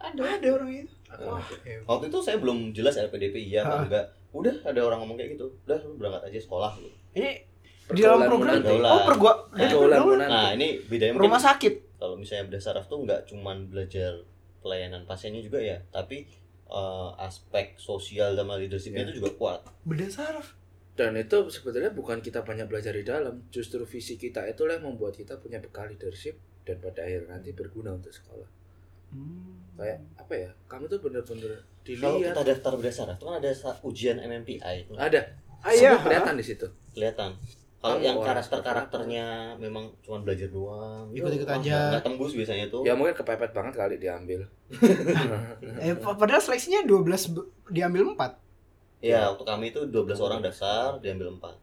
Speaker 2: Ada. ada orang itu. Wah.
Speaker 3: Akan ada.
Speaker 1: waktu itu saya belum jelas LPDP iya apa
Speaker 2: Hah.
Speaker 1: enggak udah ada orang ngomong kayak gitu udah lu berangkat aja sekolah gitu.
Speaker 2: Ini di dalam
Speaker 3: Pergaulanmu
Speaker 2: program.
Speaker 1: nanti.
Speaker 2: Oh, pergua. dari
Speaker 3: Pergaulanmu
Speaker 2: pergaulan.
Speaker 3: nanti.
Speaker 1: nah ini bedanya mungkin
Speaker 2: Rumah sakit.
Speaker 1: kalau misalnya bedah saraf tuh nggak cuman belajar pelayanan pasiennya juga ya tapi eh, aspek sosial sama leadershipnya itu
Speaker 3: Iya.
Speaker 1: juga kuat
Speaker 2: Beda saraf.
Speaker 3: Dan itu sebetulnya bukan kita banyak belajar di dalam, justru visi kita itulah yang membuat kita punya bekal leadership dan pada akhir nanti berguna untuk sekolah. Kayak apa ya? Kamu tuh bener-bener
Speaker 1: kalau
Speaker 3: dilihat
Speaker 1: kita daftar bedah saraf tuh kan ada sa- ujian MMPI itu
Speaker 3: ada
Speaker 2: Ah, iya,
Speaker 3: semua kelihatan di situ.
Speaker 1: kelihatan kalau
Speaker 3: Kamu
Speaker 1: yang
Speaker 3: orang
Speaker 1: karakter
Speaker 3: seperti apa?
Speaker 1: karakternya memang cuman belajar doang itu
Speaker 2: Ikut-ikut
Speaker 1: wah,
Speaker 2: aja.
Speaker 1: nggak- nggak tembus biasanya tuh
Speaker 3: Ya mungkin kepepet banget kali diambil.
Speaker 2: Eh, padahal seleksinya 12 be- diambil 4.
Speaker 1: Ya, waktu kami itu 12 orang dasar, diambil 4.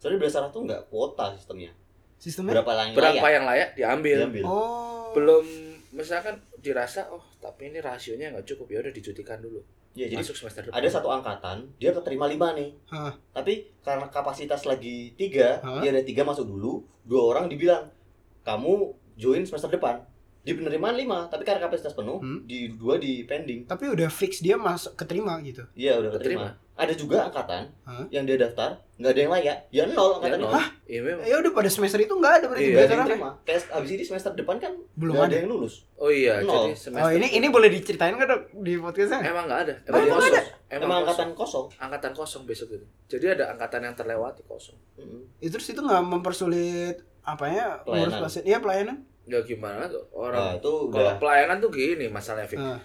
Speaker 1: Soalnya dasar itu nggak kuota sistemnya.
Speaker 2: Sistemnya.
Speaker 1: Berapa lain
Speaker 3: Berapa
Speaker 1: layak
Speaker 3: yang layak diambil.
Speaker 1: diambil.
Speaker 2: Oh.
Speaker 3: Belum misalkan dirasa oh tapi ini rasionya nggak cukup ya udah dicutikan dulu.
Speaker 1: Ya, jadi
Speaker 3: Masuk semester depan.
Speaker 1: ada satu angkatan, dia keterima 5 nih.
Speaker 2: Hah.
Speaker 1: Tapi karena kapasitas lagi 3,
Speaker 2: Hah?
Speaker 1: dia ada 3 masuk dulu, dua orang dibilang, "Kamu join semester depan." Di penerimaan 5, tapi karena kapasitas penuh,
Speaker 2: Hmm.
Speaker 1: di dua di pending.
Speaker 2: Tapi udah fix dia masuk keterima gitu.
Speaker 1: Iya, udah
Speaker 3: Keterima.
Speaker 1: keterima. Ada juga angkatan
Speaker 2: Hah?
Speaker 1: yang dia daftar, nggak ada yang layak, ya nol
Speaker 3: Ya,
Speaker 1: angkatan
Speaker 3: nol.
Speaker 1: itu.
Speaker 3: Iya, memang.
Speaker 2: Ya udah pada semester itu nggak ada berarti
Speaker 3: Iya.
Speaker 1: Nggak
Speaker 2: beda
Speaker 1: ada yang
Speaker 2: saraf ya?
Speaker 1: terima. Tes abis ini semester depan kan
Speaker 2: Belum
Speaker 1: nggak
Speaker 2: ada.
Speaker 1: ada yang lulus.
Speaker 3: Oh iya,
Speaker 1: Nol.
Speaker 3: jadi semester
Speaker 2: Oh, ini ini boleh diceritain kan Dok, di podcastnya?
Speaker 3: emang nggak ada.
Speaker 2: Oh, emang
Speaker 3: kosong.
Speaker 2: ada?
Speaker 3: Emang,
Speaker 1: Emang
Speaker 3: kosong.
Speaker 1: angkatan kosong.
Speaker 3: angkatan kosong besok itu. Jadi ada angkatan yang terlewati kosong.
Speaker 1: Mm-mm.
Speaker 2: Itu Ya, terus itu nggak mempersulit apa ya ngurus
Speaker 1: Pelayanan.
Speaker 2: pasien ya pelayanan
Speaker 3: Ya gimana tuh
Speaker 1: Nah,
Speaker 3: orang
Speaker 1: itu
Speaker 3: kalau
Speaker 1: udah
Speaker 3: pelayanan tuh gini masalahnya Fik.
Speaker 2: Ah.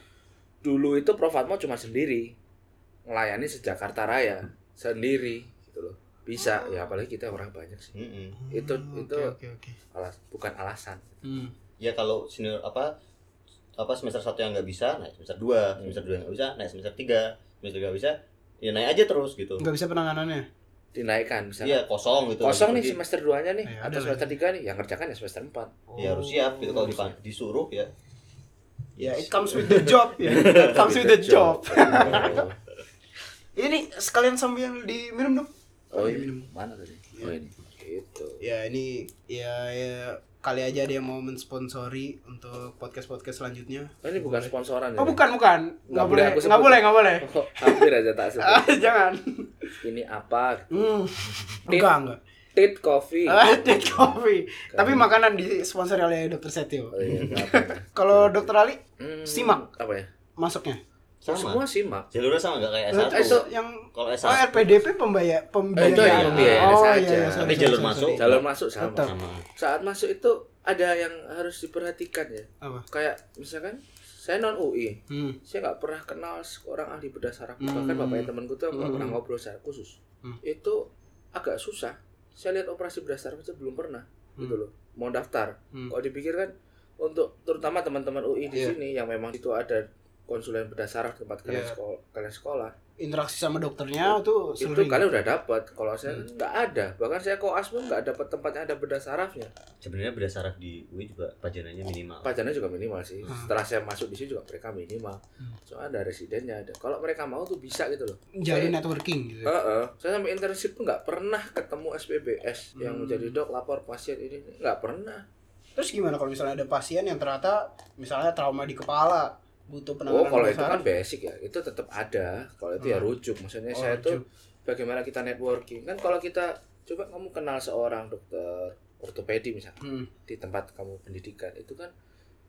Speaker 3: Dulu itu Prof Atmo cuma sendiri melayani sejakarta Raya sendiri gitu loh. Bisa ya apalagi kita orang banyak sih.
Speaker 1: Mm-mm.
Speaker 3: Itu-
Speaker 2: Hmm,
Speaker 3: itu-
Speaker 2: oke oke oke
Speaker 3: Alas bukan alasan.
Speaker 2: Hmm.
Speaker 1: ya kalau senior apa apa semester satu yang nggak bisa naik semester dua
Speaker 3: Hmm.
Speaker 1: semester dua yang nggak bisa naik semester tiga semester tiga nggak bisa ya naik aja terus gitu
Speaker 2: nggak bisa penanganannya
Speaker 3: Dinaikkan misalnya.
Speaker 1: iya kosong gitu
Speaker 3: Kosong nih
Speaker 1: Jadi,
Speaker 3: semester 2-nya nih
Speaker 2: Ya, ada
Speaker 3: atau
Speaker 2: lah.
Speaker 3: semester 3 nih yang kerjakan ya semester Oh. 4.
Speaker 1: ya harus siap gitu kalau dipan- disuruh ya
Speaker 2: ya it comes with the job ya it comes with the job ini sekalian sambil diminum dong Sambil
Speaker 3: Oh, iya.
Speaker 2: diminum.
Speaker 3: Mana tadi? Oh ini. Gitu.
Speaker 2: ya ini ya, ya kali aja ada yang mau mensponsori untuk podcast podcast selanjutnya
Speaker 3: Oh, ini bukan sponsoran
Speaker 2: oh
Speaker 3: ya?
Speaker 2: bukan bukan nggak
Speaker 3: Nggak
Speaker 2: boleh
Speaker 3: boleh aku sebut.
Speaker 2: nggak boleh nggak boleh
Speaker 3: Oh, hampir aja tak
Speaker 2: Ah,
Speaker 3: sebut.
Speaker 2: jangan
Speaker 3: Ini apa?
Speaker 2: hmm. enggak enggak
Speaker 3: Tit Coffee.
Speaker 2: Ah, Dead Coffee.
Speaker 3: Kan.
Speaker 2: Tapi makanan disponsori oleh Dokter Setio.
Speaker 3: Oh, iya, apa-apa.
Speaker 2: Kalau Dokter Ali
Speaker 3: Hmm,
Speaker 2: Simak.
Speaker 3: apa ya?
Speaker 2: masuknya?
Speaker 1: sama
Speaker 3: Semua simak.
Speaker 1: jalurnya sama nggak kayak S
Speaker 2: Eh, itu
Speaker 1: satu
Speaker 2: yang
Speaker 1: kalau S
Speaker 2: oh,
Speaker 1: satu
Speaker 2: RPDP pembayar pembiayaan.
Speaker 3: Eh, itu yang pembiayaan
Speaker 2: oh, iya,
Speaker 3: saja.
Speaker 2: iya, sorry,
Speaker 1: Tapi
Speaker 2: sorry,
Speaker 1: jalur
Speaker 2: sorry,
Speaker 1: masuk.
Speaker 2: sorry.
Speaker 3: Jalan masuk sama.
Speaker 2: Tetap.
Speaker 1: sama
Speaker 3: Saat masuk itu ada yang harus diperhatikan ya.
Speaker 2: Apa?
Speaker 3: Kayak misalkan saya non UI
Speaker 2: Hmm.
Speaker 3: saya nggak pernah kenal seorang ahli bedah saraf
Speaker 2: Hmm.
Speaker 3: bahkan bapaknya temanku tuh aku nggak
Speaker 2: Hmm.
Speaker 3: pernah ngobrol secara khusus
Speaker 2: Hmm.
Speaker 3: itu agak susah saya lihat operasi bedah saraf aja belum pernah gitu
Speaker 2: Hmm.
Speaker 3: loh mau daftar
Speaker 2: Hmm.
Speaker 3: kalau dipikir kan untuk terutama teman-teman UI di
Speaker 2: Iya.
Speaker 3: sini yang memang itu ada konsulen bedah saraf tempat kalian
Speaker 2: Iya.
Speaker 3: sekolah kalian sekolah
Speaker 2: Interaksi sama dokternya tuh
Speaker 3: itu
Speaker 2: sering.
Speaker 3: kalian udah dapat kalau saya
Speaker 2: Hmm.
Speaker 3: nggak ada bahkan saya koas pun nggak dapat tempat yang ada bedah sarafnya
Speaker 2: Hmm.
Speaker 1: Sebenarnya beda saraf di UI juga pajanannya minimal.
Speaker 3: pajannya juga minimal sih
Speaker 2: Hmm.
Speaker 3: setelah saya masuk di sini juga mereka minimal
Speaker 2: Hmm.
Speaker 3: soalnya ada residennya ada kalau mereka mau tuh bisa gitu loh
Speaker 2: Jalin
Speaker 3: Saya-
Speaker 2: networking gitu.
Speaker 3: Heeh. saya sampai internship tuh nggak pernah ketemu SPBS yang
Speaker 2: Hmm.
Speaker 3: menjadi dok lapor pasien ini nggak pernah
Speaker 2: Terus gimana kalau misalnya ada pasien yang ternyata misalnya trauma di kepala, butuh penanganan
Speaker 3: oh kalau itu
Speaker 2: besar?
Speaker 3: kan basic ya itu tetap ada kalau itu ya
Speaker 2: Hmm.
Speaker 3: rujuk maksudnya
Speaker 2: Oh,
Speaker 3: saya tuh
Speaker 2: rujuk.
Speaker 3: bagaimana kita networking kan kalau kita coba kamu kenal seorang dokter ortopedi misalnya
Speaker 2: Hmm.
Speaker 3: di tempat kamu pendidikan itu kan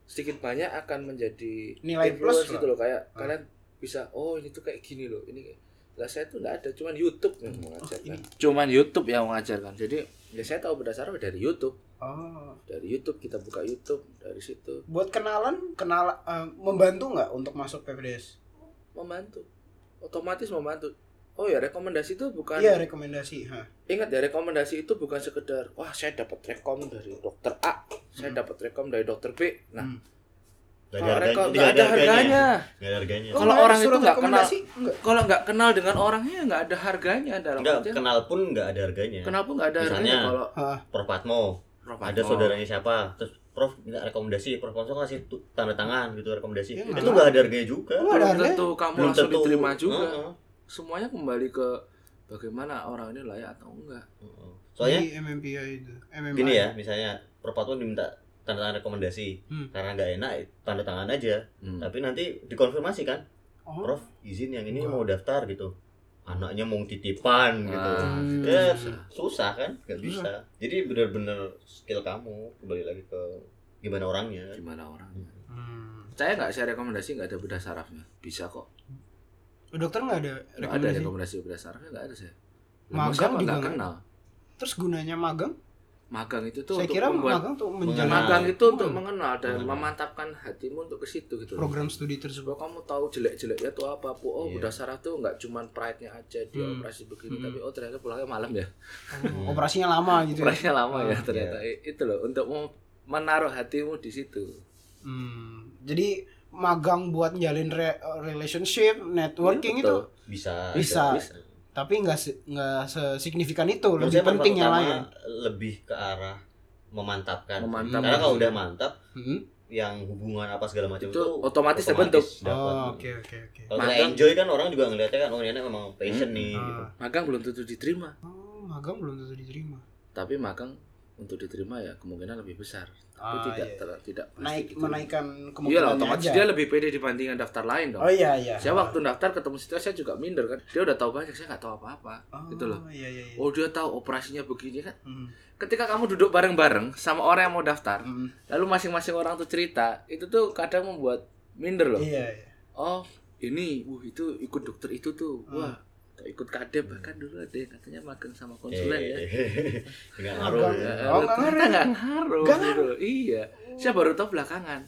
Speaker 3: sedikit banyak akan menjadi
Speaker 2: Nilai
Speaker 3: influence
Speaker 2: plus
Speaker 3: gitu loh kayak
Speaker 2: Ah.
Speaker 3: kalian bisa oh ini tuh kayak gini loh ini kayak- lah saya tuh nggak ada cuman YouTube yang
Speaker 2: ini.
Speaker 3: mengajarkan cuman YouTube yang mengajarkan jadi ya saya tahu berdasarkan dari YouTube
Speaker 2: Oh.
Speaker 3: dari YouTube kita buka YouTube dari situ
Speaker 2: Buat kenalan, kenal eh, membantu nggak untuk masuk PPDS?
Speaker 3: membantu otomatis membantu oh ya rekomendasi itu bukan
Speaker 2: Iya rekomendasi. Ha.
Speaker 3: Ingat ya rekomendasi itu bukan sekedar wah saya dapat rekom dari dokter A, saya
Speaker 2: Hmm.
Speaker 3: dapat rekom dari dokter B. Nah,
Speaker 2: Hmm.
Speaker 1: Gak
Speaker 3: kalau rekom
Speaker 1: tidak
Speaker 3: nggak ada harganya.
Speaker 1: Gak ada harganya.
Speaker 3: Kalau
Speaker 2: nggak ada
Speaker 3: orang itu
Speaker 2: surat
Speaker 3: nggak kenal-
Speaker 2: rekomendasi? Nggak.
Speaker 3: Kalau nggak kenal dengan orangnya nggak ada harganya dalam
Speaker 1: Enggak,
Speaker 3: artian,
Speaker 1: kenal pun nggak ada harganya.
Speaker 3: kenapa nggak ada harganya
Speaker 1: Misalnya,
Speaker 3: kalau
Speaker 2: Ha.
Speaker 1: Prof Patmo,
Speaker 3: Prof.
Speaker 1: ada
Speaker 3: Atmo?
Speaker 1: saudaranya siapa? Terus Prof minta rekomendasi, Prof langsung kasih tu- tanda tangan gitu rekomendasi.
Speaker 2: Ya,
Speaker 1: itu
Speaker 2: nggak.
Speaker 1: nggak ada harganya juga.
Speaker 2: Nggak ada
Speaker 3: belum
Speaker 2: harganya.
Speaker 3: tentu kamu langsung diterima juga.
Speaker 1: Heeh,
Speaker 3: Semuanya kembali ke bagaimana orang ini layak atau enggak.
Speaker 1: heeh. Soalnya
Speaker 2: Di MMPI itu. MMI.
Speaker 1: gini ya, misalnya Prof Patmo diminta tanda tangan rekomendasi
Speaker 2: Hmm.
Speaker 1: karena nggak enak tanda tangan aja
Speaker 3: Hmm.
Speaker 1: tapi nanti dikonfirmasi kan
Speaker 2: Oh.
Speaker 1: Prof izin yang ini
Speaker 2: Enggak.
Speaker 1: mau daftar gitu anaknya mau titipan gitu
Speaker 3: Nah,
Speaker 2: Hmm.
Speaker 3: itu
Speaker 1: Ya,
Speaker 3: susah.
Speaker 1: susah kan nggak
Speaker 2: Iya.
Speaker 1: bisa jadi benar-benar skill kamu kembali lagi ke gimana orangnya
Speaker 3: gimana orangnya?
Speaker 2: Hmm.
Speaker 3: Saya nggak saya rekomendasi nggak ada bedah sarafnya. Bisa kok.
Speaker 2: Oh, Dokter nggak ada
Speaker 3: Nggak ada
Speaker 2: rekomendasi.
Speaker 3: rekomendasi bedah sarafnya nggak ada saya. Lah, mau
Speaker 2: Magang
Speaker 3: siapa
Speaker 2: juga
Speaker 3: nggak
Speaker 2: nggak?
Speaker 3: kenal.
Speaker 2: Terus gunanya magang?
Speaker 3: Magang itu tuh
Speaker 2: Saya
Speaker 3: untuk
Speaker 2: kira
Speaker 3: membuat
Speaker 2: magang tuh
Speaker 1: Mengenal.
Speaker 2: menjalankan
Speaker 3: magang itu untuk mengenal dan
Speaker 1: Mengenal.
Speaker 3: memantapkan hatimu untuk ke situ gitu. loh.
Speaker 2: program studi tersebut.
Speaker 3: Bahwa kamu tahu jelek-jeleknya tuh apa, Bu. Oh,
Speaker 1: Iya.
Speaker 3: udah saraf tuh nggak cuman pride-nya aja dia
Speaker 2: Hmm.
Speaker 3: operasi begini,
Speaker 2: Hmm.
Speaker 3: tapi oh ternyata pulangnya malam ya.
Speaker 1: Hmm.
Speaker 2: Operasinya lama gitu. ya.
Speaker 3: Operasinya lama ya
Speaker 2: Ah,
Speaker 3: ternyata. I- Itu loh untuk mem- menaruh hatimu di situ.
Speaker 2: Hmm. Jadi magang buat jalin re- relationship, networking itu
Speaker 3: Iya, Betul.
Speaker 1: bisa
Speaker 2: Bisa.
Speaker 1: bisa.
Speaker 2: tapi nggak se- nggak sesignifikan itu
Speaker 1: Menurut
Speaker 2: lebih
Speaker 1: saya peran
Speaker 2: penting yang
Speaker 1: utama
Speaker 2: lain
Speaker 1: lebih ke arah memantapkan
Speaker 3: Memantapkan.
Speaker 1: karena kalau udah mantap
Speaker 2: Hmm?
Speaker 1: yang hubungan apa segala macam itu,
Speaker 3: Itu otomatis terbentuk.
Speaker 1: dapat.
Speaker 2: oh oke oke oke
Speaker 1: kalau kita
Speaker 3: Magang.
Speaker 1: enjoy kan orang juga ngeliatnya kan oh ini anak memang passion nih gitu.
Speaker 2: Ah.
Speaker 3: Magang belum tentu diterima,
Speaker 2: oh magang belum tentu diterima
Speaker 3: tapi magang untuk diterima ya kemungkinan lebih besar. Tapi
Speaker 2: Ah,
Speaker 3: tidak
Speaker 2: iya.
Speaker 3: ter- tidak pasti
Speaker 2: naik
Speaker 3: diterima.
Speaker 2: menaikkan
Speaker 3: Iya lah,
Speaker 2: kemungkinan
Speaker 3: otomatis dia lebih pede dibandingkan daftar lain dong.
Speaker 2: oh iya iya
Speaker 3: Saya waktu daftar ketemu situ saya juga minder kan. Dia udah tahu banyak, saya nggak tahu apa-apa.
Speaker 2: oh,
Speaker 3: itu loh.
Speaker 2: iya iya iya
Speaker 3: Oh dia tahu operasinya begini kan.
Speaker 2: Hmm.
Speaker 3: Ketika kamu duduk bareng-bareng sama orang yang mau daftar,
Speaker 2: Hmm.
Speaker 3: lalu masing-masing orang tuh cerita, itu tuh kadang membuat minder loh.
Speaker 2: iya iya
Speaker 3: Oh ini, wuh itu ikut dokter itu tuh,
Speaker 2: Hmm.
Speaker 3: wah atau ikut kadep bahkan dulu ada yang katanya magang sama konsulen ya.
Speaker 1: Eh, nggak ngaruh
Speaker 2: Magang.
Speaker 1: ya.
Speaker 2: Oh, nggak ngaruh.
Speaker 3: ternyata nggak ngaruh.
Speaker 2: Nggak
Speaker 3: gitu loh. Iya, saya baru tahu belakangan.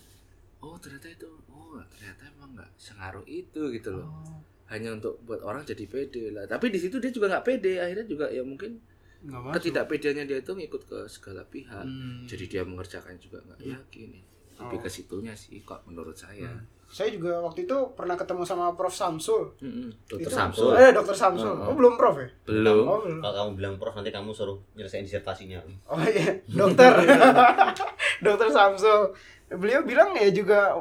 Speaker 3: Oh ternyata itu, oh ternyata emang nggak sengaruh itu gitu loh.
Speaker 2: Oh,
Speaker 3: Hanya untuk buat orang jadi pede lah. Tapi di situ dia juga nggak pede. Akhirnya juga ya mungkin
Speaker 2: nggak masuk.
Speaker 3: ketidakpedeannya dia itu ngikut ke segala pihak
Speaker 2: Hmm.
Speaker 3: jadi dia mengerjakan juga nggak
Speaker 2: Iya.
Speaker 3: yakin lebih
Speaker 2: Oh.
Speaker 3: ke situnya sih kok menurut saya
Speaker 2: Hmm. saya juga waktu itu pernah ketemu sama Prof Samsul
Speaker 3: Mm-mm. dokter
Speaker 2: Itu-
Speaker 1: Samsul.
Speaker 3: Samsul
Speaker 2: eh dokter Samsul
Speaker 3: Hmm.
Speaker 2: oh belum Prof ya
Speaker 3: belum
Speaker 2: oh belum
Speaker 1: kalau kamu bilang prof nanti kamu suruh nyelesain disertasinya
Speaker 2: Oh iya, dokter. dokter Samsul. Beliau bilang ya juga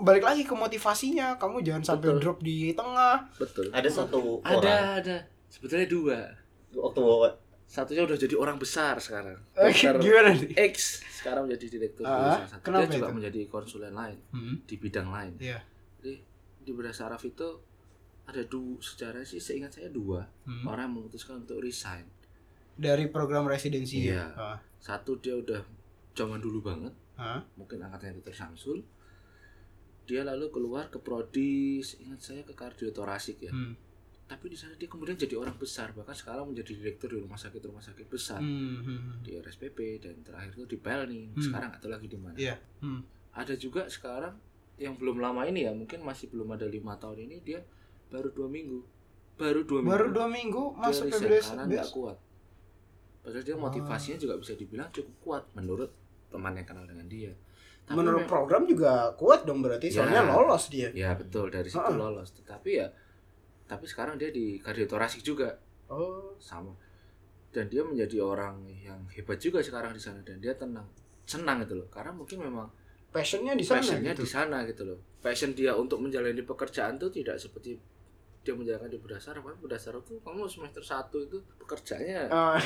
Speaker 2: balik lagi ke motivasinya, kamu jangan sampai
Speaker 3: Betul.
Speaker 2: drop di tengah.
Speaker 3: betul
Speaker 1: ada satu
Speaker 3: ada
Speaker 1: orang
Speaker 3: ada sebetulnya dua
Speaker 1: waktu bawa
Speaker 3: satunya udah jadi orang besar sekarang
Speaker 2: Eh,
Speaker 3: dokter
Speaker 2: Gimana nih?
Speaker 3: X sekarang menjadi direktur di
Speaker 2: Ah,
Speaker 3: salah satu.
Speaker 2: kenapa
Speaker 3: dia juga
Speaker 2: itu?
Speaker 3: menjadi konsulen lain di bidang lain
Speaker 2: Iya.
Speaker 3: jadi di bedah saraf itu ada dua sejarah sih seingat saya dua
Speaker 2: Hmm.
Speaker 3: orang yang memutuskan untuk resign
Speaker 2: Dari program residensi. ya?
Speaker 3: Iya.
Speaker 2: Ah.
Speaker 3: satu dia udah zaman dulu banget
Speaker 2: Hah?
Speaker 3: mungkin angkatannya Dr. Samsul dia lalu keluar ke prodi ingat saya ke kardiotorasik ya
Speaker 2: Hmm.
Speaker 3: tapi di sana dia kemudian jadi orang besar bahkan sekarang menjadi direktur di rumah sakit rumah sakit besar
Speaker 2: Hmm, hmm, hmm.
Speaker 3: di RSPP dan terakhir itu di Pelni
Speaker 2: Hmm.
Speaker 3: sekarang atau lagi di mana
Speaker 2: Iya. Hmm.
Speaker 3: ada juga sekarang yang belum lama ini ya mungkin masih belum ada lima tahun ini dia baru dua minggu baru dua minggu
Speaker 2: Baru dua minggu
Speaker 3: dia
Speaker 2: masuk
Speaker 3: riset
Speaker 2: PBDS
Speaker 3: karena nggak kuat padahal dia
Speaker 2: Ah.
Speaker 3: motivasinya juga bisa dibilang cukup kuat menurut teman yang kenal dengan dia Tapi
Speaker 2: Menurut
Speaker 3: memang-
Speaker 2: program juga kuat dong berarti
Speaker 3: Ya.
Speaker 2: soalnya lolos dia.
Speaker 3: ya betul dari situ
Speaker 2: Ah.
Speaker 3: lolos tetapi ya tapi sekarang dia di kardio torasik juga
Speaker 2: Oh.
Speaker 3: sama dan dia menjadi orang yang hebat juga sekarang di sana dan dia tenang senang gitu loh karena mungkin memang
Speaker 2: Passionnya di sana
Speaker 3: passionnya
Speaker 2: gitu.
Speaker 3: di sana gitu loh passion dia untuk menjalani pekerjaan tuh tidak seperti dia menjalankan di berdasar apa berdasar tuh kamu semester satu itu pekerjaannya
Speaker 2: Eh,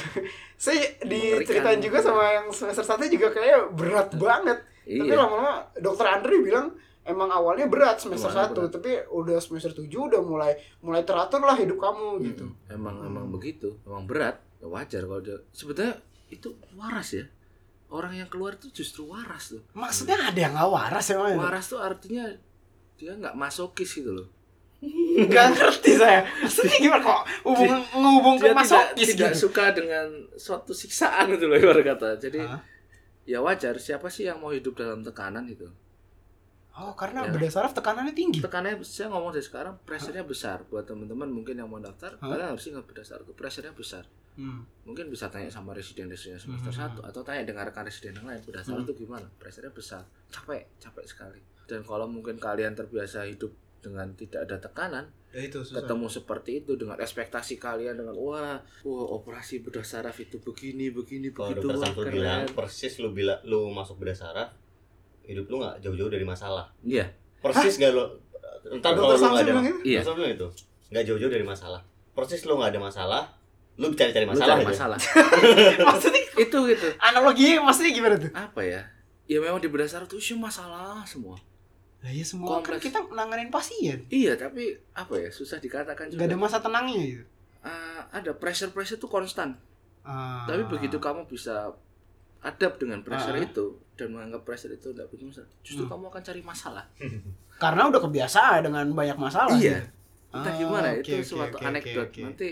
Speaker 2: saya
Speaker 3: Mengerikan.
Speaker 2: diceritain juga sama yang semester satu juga kayak berat banget. Tapi
Speaker 3: iya
Speaker 2: lama-lama dokter Andri bilang emang awalnya berat semester
Speaker 3: Awalnya
Speaker 2: satu, tapi udah semester 7 udah mulai mulai teratur lah hidup
Speaker 3: Hmm.
Speaker 2: kamu gitu.
Speaker 3: Mm-mm. emang emang
Speaker 2: Hmm.
Speaker 3: begitu emang berat ya wajar kalau dia sebetulnya itu waras ya orang yang keluar itu justru waras tuh
Speaker 2: Maksudnya ada yang nggak waras emang? ya?
Speaker 3: waras tuh artinya dia nggak masokis gitu loh
Speaker 2: Nggak ngerti saya. Maksudnya gimana kok hubung ngehubungkan
Speaker 3: dia tidak,
Speaker 2: masokis
Speaker 3: tidak
Speaker 2: gitu?
Speaker 3: suka dengan suatu siksaan itu loh ibarat kata jadi
Speaker 2: Hah?
Speaker 3: ya wajar siapa sih yang mau hidup dalam tekanan itu
Speaker 2: Oh karena
Speaker 3: Ya.
Speaker 2: beda saraf tekanannya tinggi.
Speaker 3: tekanannya saya ngomong dari sekarang pressure-nya besar buat teman-teman mungkin yang mau daftar
Speaker 2: Hah?
Speaker 3: kalian harus ingat berdasar itu pressure-nya besar
Speaker 2: Hmm.
Speaker 3: mungkin bisa tanya sama residen residen semester
Speaker 2: Hmm.
Speaker 3: satu atau tanya dengan rekan residen yang lain berdasar
Speaker 2: Hmm.
Speaker 3: itu gimana pressure-nya besar capek capek sekali dan kalau mungkin kalian terbiasa hidup dengan tidak ada tekanan
Speaker 2: Ya itu susah.
Speaker 3: ketemu seperti itu dengan ekspektasi kalian dengan wah wah operasi bedah saraf itu begini begini
Speaker 2: Oh,
Speaker 1: Kalau
Speaker 3: begitu
Speaker 1: dokter
Speaker 3: Gitu, wah,
Speaker 1: Samsul
Speaker 3: keren."
Speaker 1: bilang persis lu bila lu masuk bedah saraf hidup lu nggak jauh-jauh dari masalah.
Speaker 3: iya
Speaker 1: Persis nggak lu entar kalau
Speaker 2: Dokter
Speaker 1: lu nggak
Speaker 2: Samsul
Speaker 1: ada
Speaker 2: bilang gitu.
Speaker 3: Iya.
Speaker 1: Dokter Samsul bilang itu nggak jauh-jauh dari masalah. Persis lu nggak ada masalah, lu cari-cari
Speaker 3: lu
Speaker 1: masalah
Speaker 3: cari
Speaker 1: aja.
Speaker 3: masalah
Speaker 2: gitu ya?" Maksudnya
Speaker 3: itu gitu
Speaker 2: analoginya maksudnya gimana tuh?
Speaker 3: apa ya ya memang di bedah saraf itu sih masalah semua
Speaker 2: Nah, ya semua kan
Speaker 3: Kompleks.
Speaker 2: kita nanganin pasien.
Speaker 3: iya tapi apa ya susah dikatakan juga
Speaker 2: Gak ada masa tenangnya gitu.
Speaker 3: Ah, ada pressure pressure itu konstan
Speaker 2: Ah.
Speaker 3: tapi begitu kamu bisa adapt dengan pressure
Speaker 2: Ah.
Speaker 3: itu dan menganggap pressure itu tidak punya masalah justru
Speaker 2: Hmm.
Speaker 3: kamu akan cari masalah
Speaker 2: karena udah kebiasaan dengan banyak masalah.
Speaker 3: Iya.
Speaker 2: gitu.
Speaker 3: entah
Speaker 2: Ah,
Speaker 3: gimana
Speaker 2: oke,
Speaker 3: itu
Speaker 2: oke,
Speaker 3: suatu
Speaker 2: oke, oke,
Speaker 3: anekdot
Speaker 2: oke.
Speaker 3: nanti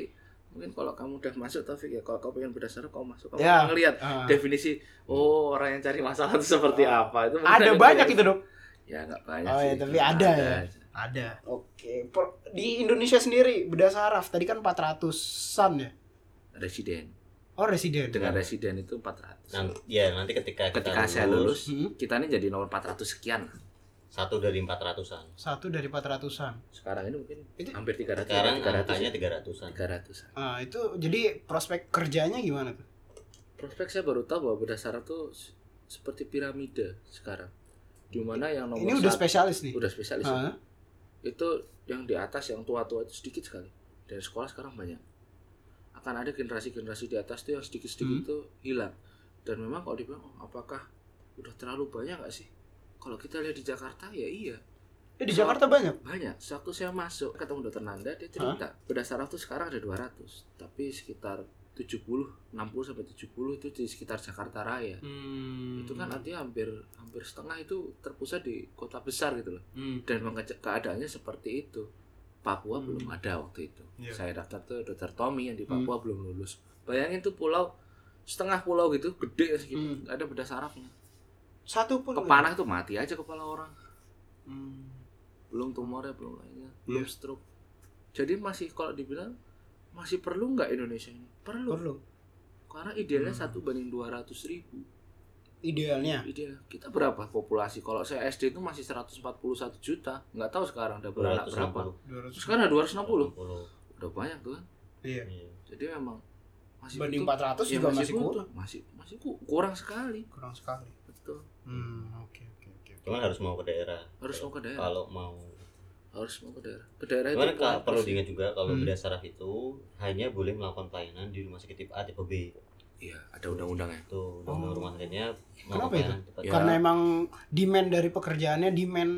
Speaker 3: mungkin kalau kamu udah masuk Taufik ya kalau kamu pengen berdasar kamu masuk kamu
Speaker 2: Ya.
Speaker 3: akan ngelihat
Speaker 2: Ah.
Speaker 3: definisi oh orang yang cari masalah itu seperti apa itu mungkin
Speaker 2: ada banyak itu dok.
Speaker 3: ya nggak banyak
Speaker 2: Oh,
Speaker 3: sih
Speaker 2: ya, tapi
Speaker 3: Cuma
Speaker 2: ada ya.
Speaker 3: aja.
Speaker 2: Ada. Oke. Per- Di Indonesia sendiri bedah saraf tadi kan 400-an ya.
Speaker 3: residen
Speaker 2: Oh residen.
Speaker 3: dengan
Speaker 1: Ya.
Speaker 3: residen itu 400
Speaker 1: Nah, ya nanti ketika kita
Speaker 3: ketika
Speaker 1: lulus,
Speaker 3: saya lulus
Speaker 2: Hmm.
Speaker 3: kita ini jadi nomor 400 sekian
Speaker 1: satu dari 400-an.
Speaker 2: Satu dari 400-an.
Speaker 3: sekarang ini mungkin
Speaker 2: Itu-
Speaker 3: hampir ya, 300
Speaker 1: Sekarang
Speaker 3: 300
Speaker 1: angkanya 300-an.
Speaker 3: 300
Speaker 2: Ah, itu jadi prospek kerjanya gimana tuh?
Speaker 3: prospek saya baru tahu bahwa bedah saraf tuh se- seperti piramida sekarang di mana yang nomor
Speaker 2: Ini udah
Speaker 3: satu-
Speaker 2: spesialis nih.
Speaker 3: udah spesialis ya.
Speaker 2: Ah.
Speaker 3: itu yang di atas yang tua-tua itu sedikit sekali dari sekolah sekarang banyak akan ada generasi-generasi di atas tuh yang sedikit-sedikit
Speaker 2: Hmm.
Speaker 3: itu hilang dan memang kalau dibilang "Oh, apakah udah terlalu banyak nggak sih kalau kita lihat di Jakarta ya iya
Speaker 2: Eh, di Jakarta banyak.
Speaker 3: banyak waktu saya masuk ketemu dokter Nanda dia cerita bedah saraf tuh sekarang ada 200 tapi sekitar 70 60 sampai 70 itu di sekitar Jakarta Raya itu kan
Speaker 2: Hmm.
Speaker 3: artinya hampir hampir setengah itu terpusat di kota besar gitu loh
Speaker 2: Hmm.
Speaker 3: dan memang ke- keadaannya seperti itu Papua
Speaker 2: Hmm.
Speaker 3: belum ada waktu itu
Speaker 2: Iya. Hmm.
Speaker 3: saya daftar tuh dokter Tommy yang di Papua belum lulus bayangin tuh pulau setengah pulau gitu gede segitu
Speaker 2: Hmm. Oh, iya.
Speaker 3: nggak ada bedah sarafnya
Speaker 2: Satu pun.
Speaker 3: kepanah tuh mati aja kepala orang
Speaker 2: Hmm.
Speaker 3: belum tumornya belum lainnya
Speaker 2: Iya.
Speaker 3: belum stroke jadi masih kalau dibilang masih perlu nggak Indonesia ini perlu,
Speaker 2: Perlu.
Speaker 3: karena idealnya
Speaker 2: Hmm.
Speaker 3: satu banding dua ratus ribu
Speaker 2: Idealnya.
Speaker 3: ideal kita berapa populasi kalau saya SD itu masih 141 juta nggak tahu sekarang udah beranak berapa
Speaker 1: 260.
Speaker 2: 200.
Speaker 3: sekarang ada
Speaker 1: 260.
Speaker 3: 260 udah banyak tuh kan
Speaker 2: Iya.
Speaker 1: Iya.
Speaker 3: jadi memang masih
Speaker 2: Banding
Speaker 3: butuh-
Speaker 2: 400
Speaker 3: ya,
Speaker 2: juga masih
Speaker 3: butuh.
Speaker 2: kurang.
Speaker 3: masih masih ku- kurang sekali
Speaker 2: Kurang sekali.
Speaker 3: betul
Speaker 2: Hmm, oke oke oke.
Speaker 1: Cuman harus mau ke daerah.
Speaker 3: harus mau ke daerah
Speaker 1: Kalau mau
Speaker 3: harus mau ke daerah ke daerah
Speaker 1: Cuman
Speaker 3: itu
Speaker 1: kalau
Speaker 3: apa
Speaker 1: perlu
Speaker 3: sih?
Speaker 1: diingat juga kalau
Speaker 2: Hmm.
Speaker 1: bedah saraf itu hanya boleh melakukan pelayanan di rumah sakit tipe A tipe B.
Speaker 3: iya ada undang-undangnya
Speaker 1: Tuh, undang
Speaker 2: Oh.
Speaker 1: rumah sakitnya
Speaker 2: Kenapa itu?
Speaker 1: tepat.
Speaker 3: Ya.
Speaker 2: Karena emang demand dari pekerjaannya, demand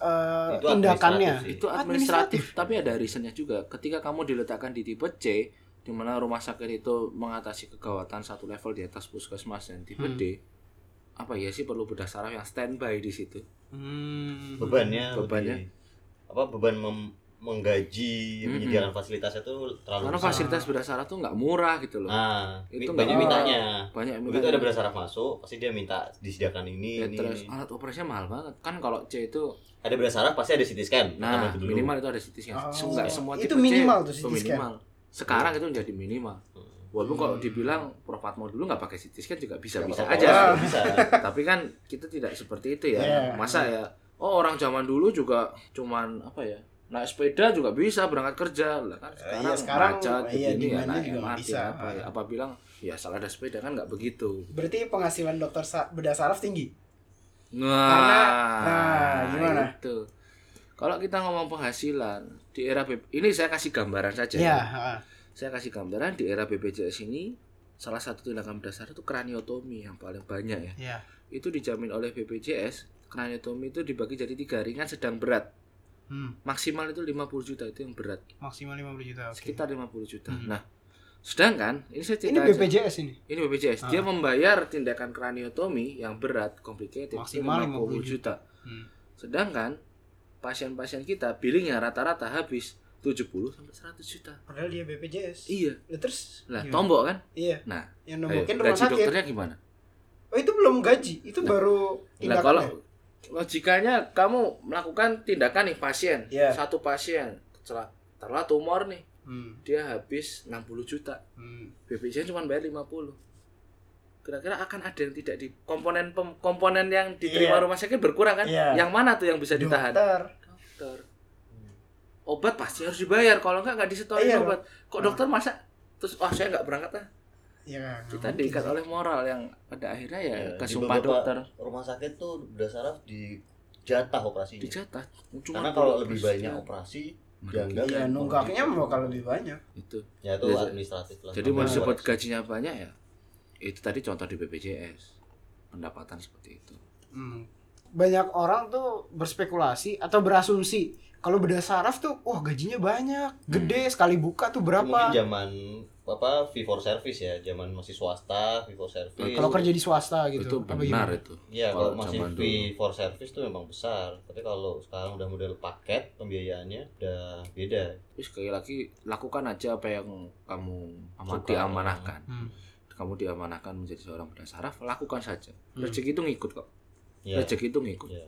Speaker 2: eh,
Speaker 1: Itu
Speaker 2: tindakannya.
Speaker 1: administratif
Speaker 3: itu
Speaker 2: Administratif.
Speaker 3: administratif tapi ada reasonnya juga ketika kamu diletakkan di tipe C di mana rumah sakit itu mengatasi kegawatan satu level di atas puskesmas dan tipe
Speaker 2: Hmm.
Speaker 3: D apa ya sih perlu bedah saraf yang standby di situ
Speaker 2: Hmm.
Speaker 1: Bebannya
Speaker 3: Bebannya.
Speaker 1: lebih- apa beban mem- menggaji
Speaker 3: Mm-mm.
Speaker 1: menyediakan fasilitasnya tuh terlalu
Speaker 3: hmm. Karena
Speaker 1: besar.
Speaker 3: fasilitas berasarah tuh nggak murah gitu loh.
Speaker 1: nah
Speaker 3: Itu
Speaker 1: itu
Speaker 3: nggak
Speaker 1: banyak
Speaker 3: murah.
Speaker 1: mintanya
Speaker 3: Banyak yang
Speaker 1: begitu
Speaker 3: minta-
Speaker 1: ada berasaraf masuk pasti dia minta disediakan ini
Speaker 3: Ya,
Speaker 1: ini
Speaker 3: terus
Speaker 1: ini.
Speaker 3: alat operasinya mahal banget. Kan kalau C itu
Speaker 1: ada berasaraf pasti ada CT scan
Speaker 3: nah,
Speaker 1: Pertama itu dulu. Iya.
Speaker 3: minimal itu ada CT scan.
Speaker 2: Oh.
Speaker 3: Se- nggak semua
Speaker 2: Itu
Speaker 3: tipe C,
Speaker 2: minimal tuh
Speaker 3: itu
Speaker 2: CT scan.
Speaker 3: minimal. Sekarang itu menjadi minimal.
Speaker 1: Hmm.
Speaker 3: Walaupun kalau
Speaker 2: Hmm.
Speaker 3: dibilang Prof Patmo dulu nggak pakai CT scan juga bisa-bisa
Speaker 1: Nggak
Speaker 3: aja.
Speaker 1: apa-apa,
Speaker 2: Ah.
Speaker 1: bisa
Speaker 3: tapi kan kita tidak seperti itu ya
Speaker 2: Iya.
Speaker 3: masa ya oh orang zaman dulu juga cuman apa ya naik sepeda juga bisa berangkat kerja lah kan
Speaker 2: Eh,
Speaker 3: sekarang,
Speaker 2: iya, sekarang,
Speaker 3: macet
Speaker 2: iya,
Speaker 3: begini ya
Speaker 2: demandnya
Speaker 3: naik
Speaker 2: juga nggak
Speaker 3: MRT
Speaker 2: bisa.
Speaker 3: apa ya apa bilang ya salah ada sepeda kan nggak begitu
Speaker 2: Berarti penghasilan dokter sa- bedah saraf tinggi.
Speaker 3: nah,
Speaker 2: nah, gimana?
Speaker 3: itu kalau kita ngomong penghasilan di era B- ini saya kasih gambaran saja
Speaker 2: Iya,
Speaker 3: ya.
Speaker 2: heeh.
Speaker 3: saya kasih gambaran di era BPJS ini salah satu tindakan dasar itu kraniotomi yang paling banyak ya
Speaker 2: Iya.
Speaker 3: itu dijamin oleh BPJS kraniotomi itu dibagi jadi tiga ringan sedang berat
Speaker 2: Hmm,
Speaker 3: maksimal itu 50 juta itu yang berat
Speaker 2: maksimal 50 juta. oke.
Speaker 3: sekitar 50 juta
Speaker 2: Hmm.
Speaker 3: nah sedangkan ini saya
Speaker 2: Ini
Speaker 3: cerita aja.
Speaker 2: BPJS ini.
Speaker 3: ini BPJS dia
Speaker 2: Ah.
Speaker 3: membayar tindakan kraniotomi yang berat complicated itu
Speaker 2: Maksimal
Speaker 3: 50
Speaker 2: 50
Speaker 3: juta
Speaker 2: Hmm.
Speaker 3: sedangkan pasien-pasien kita billingnya rata-rata habis 70 sampai 100 juta
Speaker 2: Padahal dia BPJS.
Speaker 3: iya
Speaker 2: Ya, terus
Speaker 3: lah
Speaker 2: gimana?
Speaker 3: tombok kan
Speaker 2: Iya.
Speaker 3: Nah,
Speaker 2: yang
Speaker 3: Ayo,
Speaker 2: nembokin rumah
Speaker 3: gaji
Speaker 2: sakit.
Speaker 3: dokternya gimana
Speaker 2: Oh, itu belum gaji, itu
Speaker 3: Lah.
Speaker 2: baru
Speaker 3: Nah,
Speaker 2: tindakan
Speaker 3: kalau
Speaker 2: ya?
Speaker 3: logikanya kamu melakukan tindakan nih pasien,
Speaker 2: Iya.
Speaker 3: satu pasien, kecela- taruhlah tumor nih,
Speaker 2: Hmm.
Speaker 3: dia habis 60 juta,
Speaker 2: hmm.
Speaker 3: BPJS cuma bayar 50. Kira-kira akan ada yang tidak di komponen pem- komponen yang diterima
Speaker 2: Iya.
Speaker 3: rumah sakit berkurang kan?
Speaker 2: Iya.
Speaker 3: Yang mana tuh yang bisa ditahan?
Speaker 2: Dokter.
Speaker 3: Dokter. Obat pasti harus dibayar, kalau enggak nggak disetorin
Speaker 2: Iya,
Speaker 3: obat. Kok
Speaker 2: Ah.
Speaker 3: dokter masa terus wah saya nggak berangkat ah.
Speaker 2: Ya, nggak
Speaker 3: Kita
Speaker 2: mungkin
Speaker 3: diikat
Speaker 2: sih.
Speaker 3: oleh moral yang pada akhirnya ya,
Speaker 1: Ya, di
Speaker 3: kesumpah
Speaker 1: beberapa-
Speaker 3: dokter
Speaker 1: rumah sakit tuh berasaraf di jatah operasinya
Speaker 3: dijatah. Cuma ya.
Speaker 1: karena kalau
Speaker 3: 20%.
Speaker 1: lebih banyak operasi janggal
Speaker 2: Iya,
Speaker 1: dan
Speaker 2: nunggaknya
Speaker 1: korupsi.
Speaker 2: bakal lebih banyak.
Speaker 3: itu
Speaker 1: ya itu
Speaker 3: Jadi-
Speaker 1: administratif lah
Speaker 3: jadi mau
Speaker 1: Namanya
Speaker 3: disebut
Speaker 1: operasi.
Speaker 3: gajinya banyak ya itu tadi contoh di BPJS pendapatan seperti itu
Speaker 2: Hmm. Banyak orang tuh berspekulasi atau berasumsi kalau bedah saraf tuh wah gajinya banyak,
Speaker 3: Hmm.
Speaker 2: gede sekali buka tuh
Speaker 1: mungkin
Speaker 2: berapa.
Speaker 1: zaman apa fee for service ya zaman masih swasta fee for service
Speaker 2: Kalau kerja di swasta gitu.
Speaker 3: itu
Speaker 2: apa
Speaker 3: benar
Speaker 2: gimana?
Speaker 3: itu
Speaker 1: Iya, kalau
Speaker 3: Kalau
Speaker 1: masih
Speaker 3: zaman
Speaker 1: fee for service tuh memang besar. Tapi kalau sekarang udah model paket, pembiayaannya udah beda.
Speaker 3: terus sekali lagi lakukan aja apa yang kamu ama-
Speaker 1: Suka.
Speaker 3: diamanahkan
Speaker 2: Hmm.
Speaker 3: kamu diamanahkan menjadi seorang bedah saraf lakukan saja
Speaker 2: Hmm.
Speaker 3: rezeki itu ngikut kok
Speaker 1: Iya.
Speaker 3: rezeki itu ngikut
Speaker 1: Iya.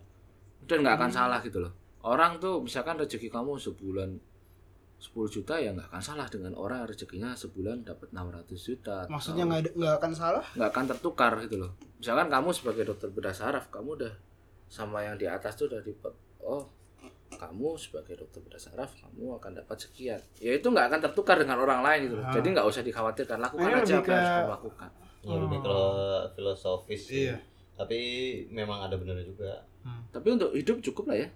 Speaker 3: dan nggak akan
Speaker 2: Hmm.
Speaker 3: salah gitu loh orang tuh misalkan rezeki kamu sebulan 10 juta ya nggak akan salah dengan orang yang rezekinya sebulan dapat 600 juta
Speaker 2: Maksudnya
Speaker 3: atau-
Speaker 2: nggak ada- nggak akan salah?
Speaker 3: nggak akan tertukar gitu loh misalkan kamu sebagai dokter bedah saraf kamu udah sama yang di atas tuh udah di oh kamu sebagai dokter bedah saraf kamu akan dapat sekian ya itu nggak akan tertukar dengan orang lain gitu loh
Speaker 2: Ah.
Speaker 3: jadi nggak usah dikhawatirkan lakukan
Speaker 2: Ini
Speaker 3: aja
Speaker 2: lebih
Speaker 3: apa yang harus
Speaker 2: ke-
Speaker 3: kamu lakukan
Speaker 1: Ya, lebih
Speaker 2: Oh. Iya.
Speaker 1: kalau filosofis. sih. Tapi memang ada benernya juga.
Speaker 3: tapi untuk hidup cukup lah ya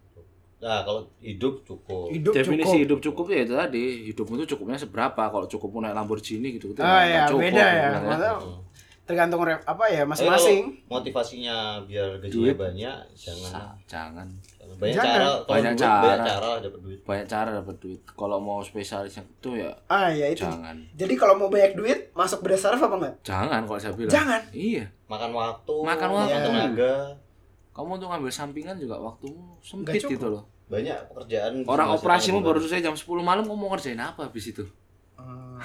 Speaker 1: Nah, kalau hidup cukup.
Speaker 2: Hidup
Speaker 3: Oh, definisi
Speaker 2: cukup.
Speaker 3: hidup cukup ya itu tadi hidupmu itu cukupnya seberapa kalau cukup mau naik Lamborghini gitu gitu
Speaker 2: Ah, ya,
Speaker 3: cukup
Speaker 2: beda ya.
Speaker 3: gitu kan
Speaker 2: Padahal
Speaker 1: Hmm.
Speaker 2: tergantung rep- apa ya masing-masing.
Speaker 1: Motivasinya biar gajinya
Speaker 3: Duit.
Speaker 1: banyak,
Speaker 3: Sa-
Speaker 1: jangan.
Speaker 3: jangan
Speaker 1: Banyak
Speaker 2: Jangan.
Speaker 1: cara, kalau
Speaker 3: Banyak
Speaker 1: duit, banyak
Speaker 3: cara.
Speaker 1: cara dapat duit.
Speaker 3: banyak cara dapat duit kalau mau spesialis yang itu ya
Speaker 2: Ah, ya itu.
Speaker 3: jangan
Speaker 2: Jadi kalau mau banyak duit, masuk bedah saraf apa enggak?
Speaker 3: jangan kalau saya bilang
Speaker 2: Jangan.
Speaker 3: iya
Speaker 1: Makan waktu,
Speaker 3: Makan waktu.
Speaker 1: tenaga,
Speaker 3: kamu tuh ngambil sampingan juga waktumu
Speaker 2: Nggak
Speaker 3: sempit
Speaker 2: cukup.
Speaker 3: gitu loh
Speaker 1: banyak pekerjaan.
Speaker 3: orang
Speaker 1: Masih
Speaker 3: operasimu
Speaker 1: ada beban.
Speaker 3: baru selesai jam 10 malam kamu mau ngerjain apa habis itu
Speaker 2: Ah,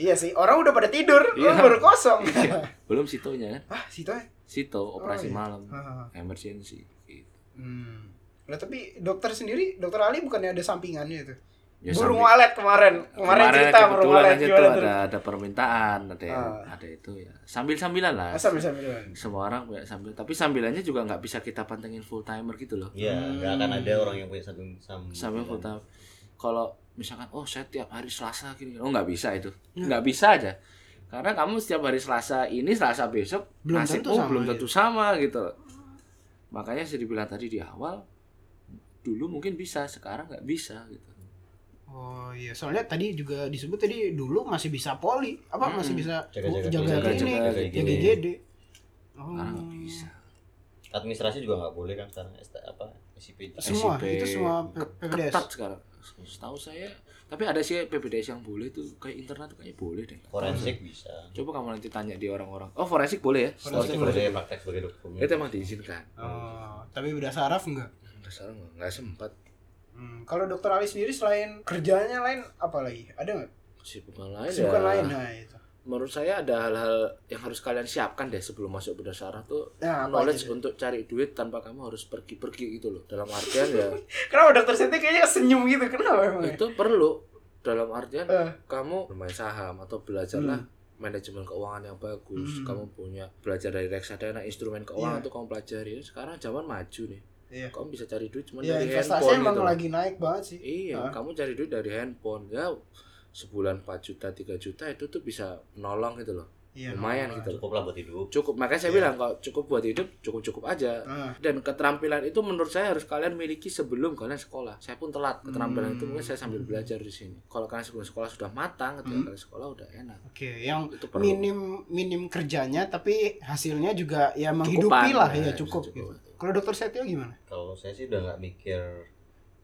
Speaker 2: iya sih, orang udah pada tidur,
Speaker 3: Iya.
Speaker 2: orang baru kosong.
Speaker 3: belum sitonya kan
Speaker 2: ah, situ ya.
Speaker 3: sito operasi
Speaker 2: iya.
Speaker 3: malam
Speaker 2: Ah,
Speaker 3: emergency gitu.
Speaker 2: hmm. Nah, tapi dokter sendiri, dokter Ali bukannya ada sampingannya itu.
Speaker 3: Ya,
Speaker 2: burung
Speaker 3: samping-
Speaker 2: walet kemarin. Kemarin, cerita burung
Speaker 3: kebetulan
Speaker 2: walet
Speaker 3: aja tuh
Speaker 2: gimana tuh?
Speaker 3: ada ada permintaan ada yang,
Speaker 2: Ah.
Speaker 3: ada itu ya sambil sambilan lah
Speaker 2: Ah, sambil-sambil doang.
Speaker 3: semua orang punya sambil tapi sambilannya juga nggak bisa kita pantengin full timer gitu loh
Speaker 1: Iya, nggak akan ada orang yang punya kan. sambung iya.
Speaker 3: sambil full timer kalau misalkan oh saya tiap hari selasa gini oh nggak bisa itu
Speaker 2: Iya.
Speaker 3: nggak bisa aja karena kamu setiap hari selasa ini selasa besok
Speaker 2: Belum
Speaker 3: nasib
Speaker 2: tentu
Speaker 3: oh,
Speaker 2: sama,
Speaker 3: belum
Speaker 2: iya.
Speaker 3: tentu sama gitu loh. makanya saya dibilang tadi di awal dulu mungkin bisa sekarang nggak bisa gitu
Speaker 2: Oh iya, soalnya tadi juga disebut tadi dulu masih bisa poli, apa
Speaker 3: Hmm.
Speaker 2: masih bisa
Speaker 1: Jaga-jaga
Speaker 2: jaga
Speaker 3: poli.
Speaker 2: ini,
Speaker 3: Jaga-jaga
Speaker 2: jaga
Speaker 1: gini.
Speaker 2: GD. Oh.
Speaker 3: sekarang nggak bisa
Speaker 1: administrasi juga nggak boleh kan sekarang ST, apa SIP
Speaker 2: Semua,
Speaker 3: SIP
Speaker 2: itu semua PPDS.
Speaker 3: ketat sekarang setahu saya tapi ada sih PPDS yang boleh tuh kayak internet tuh kayaknya boleh deh
Speaker 1: forensik bisa
Speaker 3: coba kamu nanti tanya di orang-orang oh forensik boleh ya
Speaker 1: forensik
Speaker 2: Forensik
Speaker 1: boleh praktek sebagai dokter umum.
Speaker 3: itu emang diizinkan
Speaker 2: Oh, tapi udah saraf enggak?
Speaker 3: Nggak salah nggak- nggak sempat
Speaker 2: Hmm, kalau dokter Ali sendiri selain kerjanya lain apa lagi? Ada nggak?
Speaker 3: Kesibukan lain
Speaker 2: Kesibukan
Speaker 3: ya.
Speaker 2: lain nah itu.
Speaker 3: Menurut saya ada hal-hal yang harus kalian siapkan deh sebelum masuk bedah syarah tuh
Speaker 2: Nah, apa
Speaker 3: knowledge
Speaker 2: aja?
Speaker 3: untuk cari duit tanpa kamu harus pergi-pergi gitu loh. Dalam artian ya
Speaker 2: Kenapa dokter Siti kayaknya senyum gitu? Kenapa emang? ya?
Speaker 3: itu perlu dalam artian
Speaker 2: Eh.
Speaker 3: kamu bermain saham atau belajarlah manajemen keuangan yang
Speaker 2: Hmm.
Speaker 3: bagus kamu punya belajar dari reksadana instrumen keuangan
Speaker 2: Iya.
Speaker 3: itu kamu pelajari sekarang zaman maju nih
Speaker 2: Iya.
Speaker 3: kamu bisa cari duit cuma
Speaker 2: Ya,
Speaker 3: dari
Speaker 2: investasi
Speaker 3: handphone
Speaker 2: emang
Speaker 3: gitu
Speaker 2: lagi naik banget sih.
Speaker 3: iya
Speaker 2: Ah.
Speaker 3: kamu cari duit dari handphone ya sebulan 4 juta 3 juta itu tuh bisa nolong gitu loh
Speaker 2: Iya.
Speaker 3: lumayan
Speaker 2: nah,
Speaker 3: gitu loh
Speaker 1: cukup lah buat hidup
Speaker 3: cukup makanya saya
Speaker 1: Iya.
Speaker 3: bilang kalau cukup buat hidup cukup cukup aja
Speaker 2: Ah,
Speaker 3: dan keterampilan itu menurut saya harus kalian miliki sebelum kalian sekolah. Saya pun telat keterampilan
Speaker 2: Hmm.
Speaker 3: itu mungkin saya sambil belajar di sini. Kalau kalian sebelum sekolah sudah matang, ketika
Speaker 2: Hmm.
Speaker 3: kalian sekolah udah enak.
Speaker 2: Oke, yang
Speaker 3: Itu perlu.
Speaker 2: minim minim kerjanya tapi hasilnya juga ya
Speaker 3: Cukupan,
Speaker 2: menghidupi lah ya,
Speaker 3: bisa
Speaker 2: cukup. gitu. Kalau dokter Setio gimana?
Speaker 1: kalau saya sih udah nggak mikir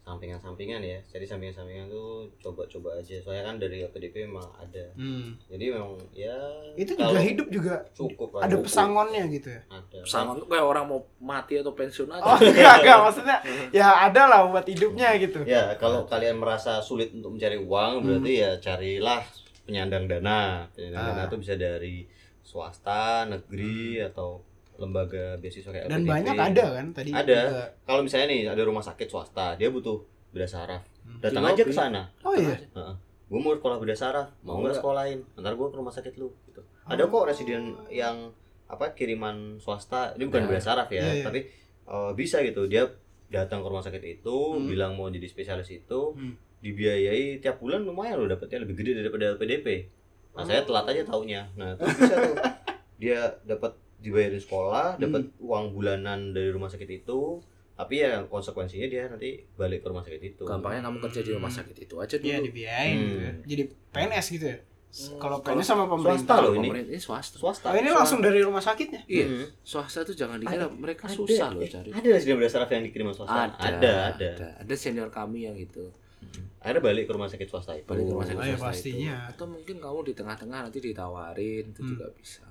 Speaker 1: sampingan-sampingan ya jadi sampingan-sampingan tuh coba-coba aja soalnya kan dari LPDP memang ada
Speaker 2: Hmm.
Speaker 1: jadi memang ya
Speaker 2: Itu juga
Speaker 1: kalau
Speaker 2: hidup juga
Speaker 1: cukup lah,
Speaker 2: ada
Speaker 1: cukup.
Speaker 2: pesangonnya gitu ya.
Speaker 1: ada
Speaker 3: Pesangon tuh kayak orang mau mati atau pensiun aja. gitu.
Speaker 2: Oh, enggak, enggak maksudnya ya ada lah buat hidupnya gitu.
Speaker 1: ya kalau kalian merasa sulit untuk mencari
Speaker 2: Hmm.
Speaker 1: uang berarti ya carilah penyandang dana penyandang
Speaker 2: Ah. Hmm.
Speaker 1: dana itu bisa dari swasta negeri atau lembaga beasiswa kayak
Speaker 2: Dan
Speaker 1: LPDP.
Speaker 2: banyak ada kan tadi.
Speaker 1: Ada.
Speaker 2: juga.
Speaker 1: kalau misalnya nih ada rumah sakit swasta dia butuh bedah saraf
Speaker 2: Hmm.
Speaker 1: datang
Speaker 3: Di
Speaker 1: aja ke
Speaker 3: lobby.
Speaker 1: sana
Speaker 2: Oh iya.
Speaker 1: gue mau sekolah bedah saraf mau
Speaker 3: Mau
Speaker 1: nggak
Speaker 3: nggak?
Speaker 1: sekolahin ntar gue ke rumah sakit lu gitu
Speaker 2: Oh.
Speaker 1: ada kok residen yang apa kiriman swasta ini bukan
Speaker 3: Nah.
Speaker 1: bedah saraf ya
Speaker 2: Iya, iya.
Speaker 1: tapi eh, bisa gitu dia datang ke rumah sakit itu
Speaker 2: Hmm.
Speaker 1: bilang mau jadi spesialis itu
Speaker 2: Hmm.
Speaker 1: dibiayai tiap bulan lumayan loh dapatnya lebih gede daripada PDP nah saya
Speaker 3: Oh.
Speaker 1: telat aja taunya nah terus bisa tuh dia dapat dibayarin sekolah
Speaker 2: Hmm.
Speaker 1: dapat uang bulanan dari rumah sakit itu tapi ya konsekuensinya dia nanti balik ke rumah sakit itu
Speaker 3: Gampangnya kamu kerja di rumah sakit itu aja dulu.
Speaker 2: Iya dibiayain
Speaker 1: Hmm.
Speaker 2: gitu ya. Jadi PNS gitu ya. S-
Speaker 3: Hmm,
Speaker 2: Kalau
Speaker 3: kalau
Speaker 2: PNS sama
Speaker 1: swasta
Speaker 2: pemerintah.
Speaker 1: loh ini.
Speaker 3: Pemerintah- ini swasta.
Speaker 1: swasta
Speaker 2: Oh, ini langsung dari rumah sakitnya.
Speaker 3: Iya,
Speaker 1: Hmm.
Speaker 3: swasta tuh jangan dikira
Speaker 1: Ada-
Speaker 3: mereka
Speaker 1: Ada,
Speaker 3: susah loh
Speaker 1: eh,
Speaker 3: cari.
Speaker 1: ada sih bedah saraf yang dikirim swasta ada ada,
Speaker 3: ada. Ada senior kami yang gitu.
Speaker 1: akhirnya balik ke rumah sakit swasta itu
Speaker 3: balik ke rumah sakit
Speaker 2: Oh, iya,
Speaker 3: swasta
Speaker 2: pastinya.
Speaker 3: itu atau mungkin kamu di tengah-tengah nanti ditawarin itu
Speaker 2: Hmm.
Speaker 3: juga bisa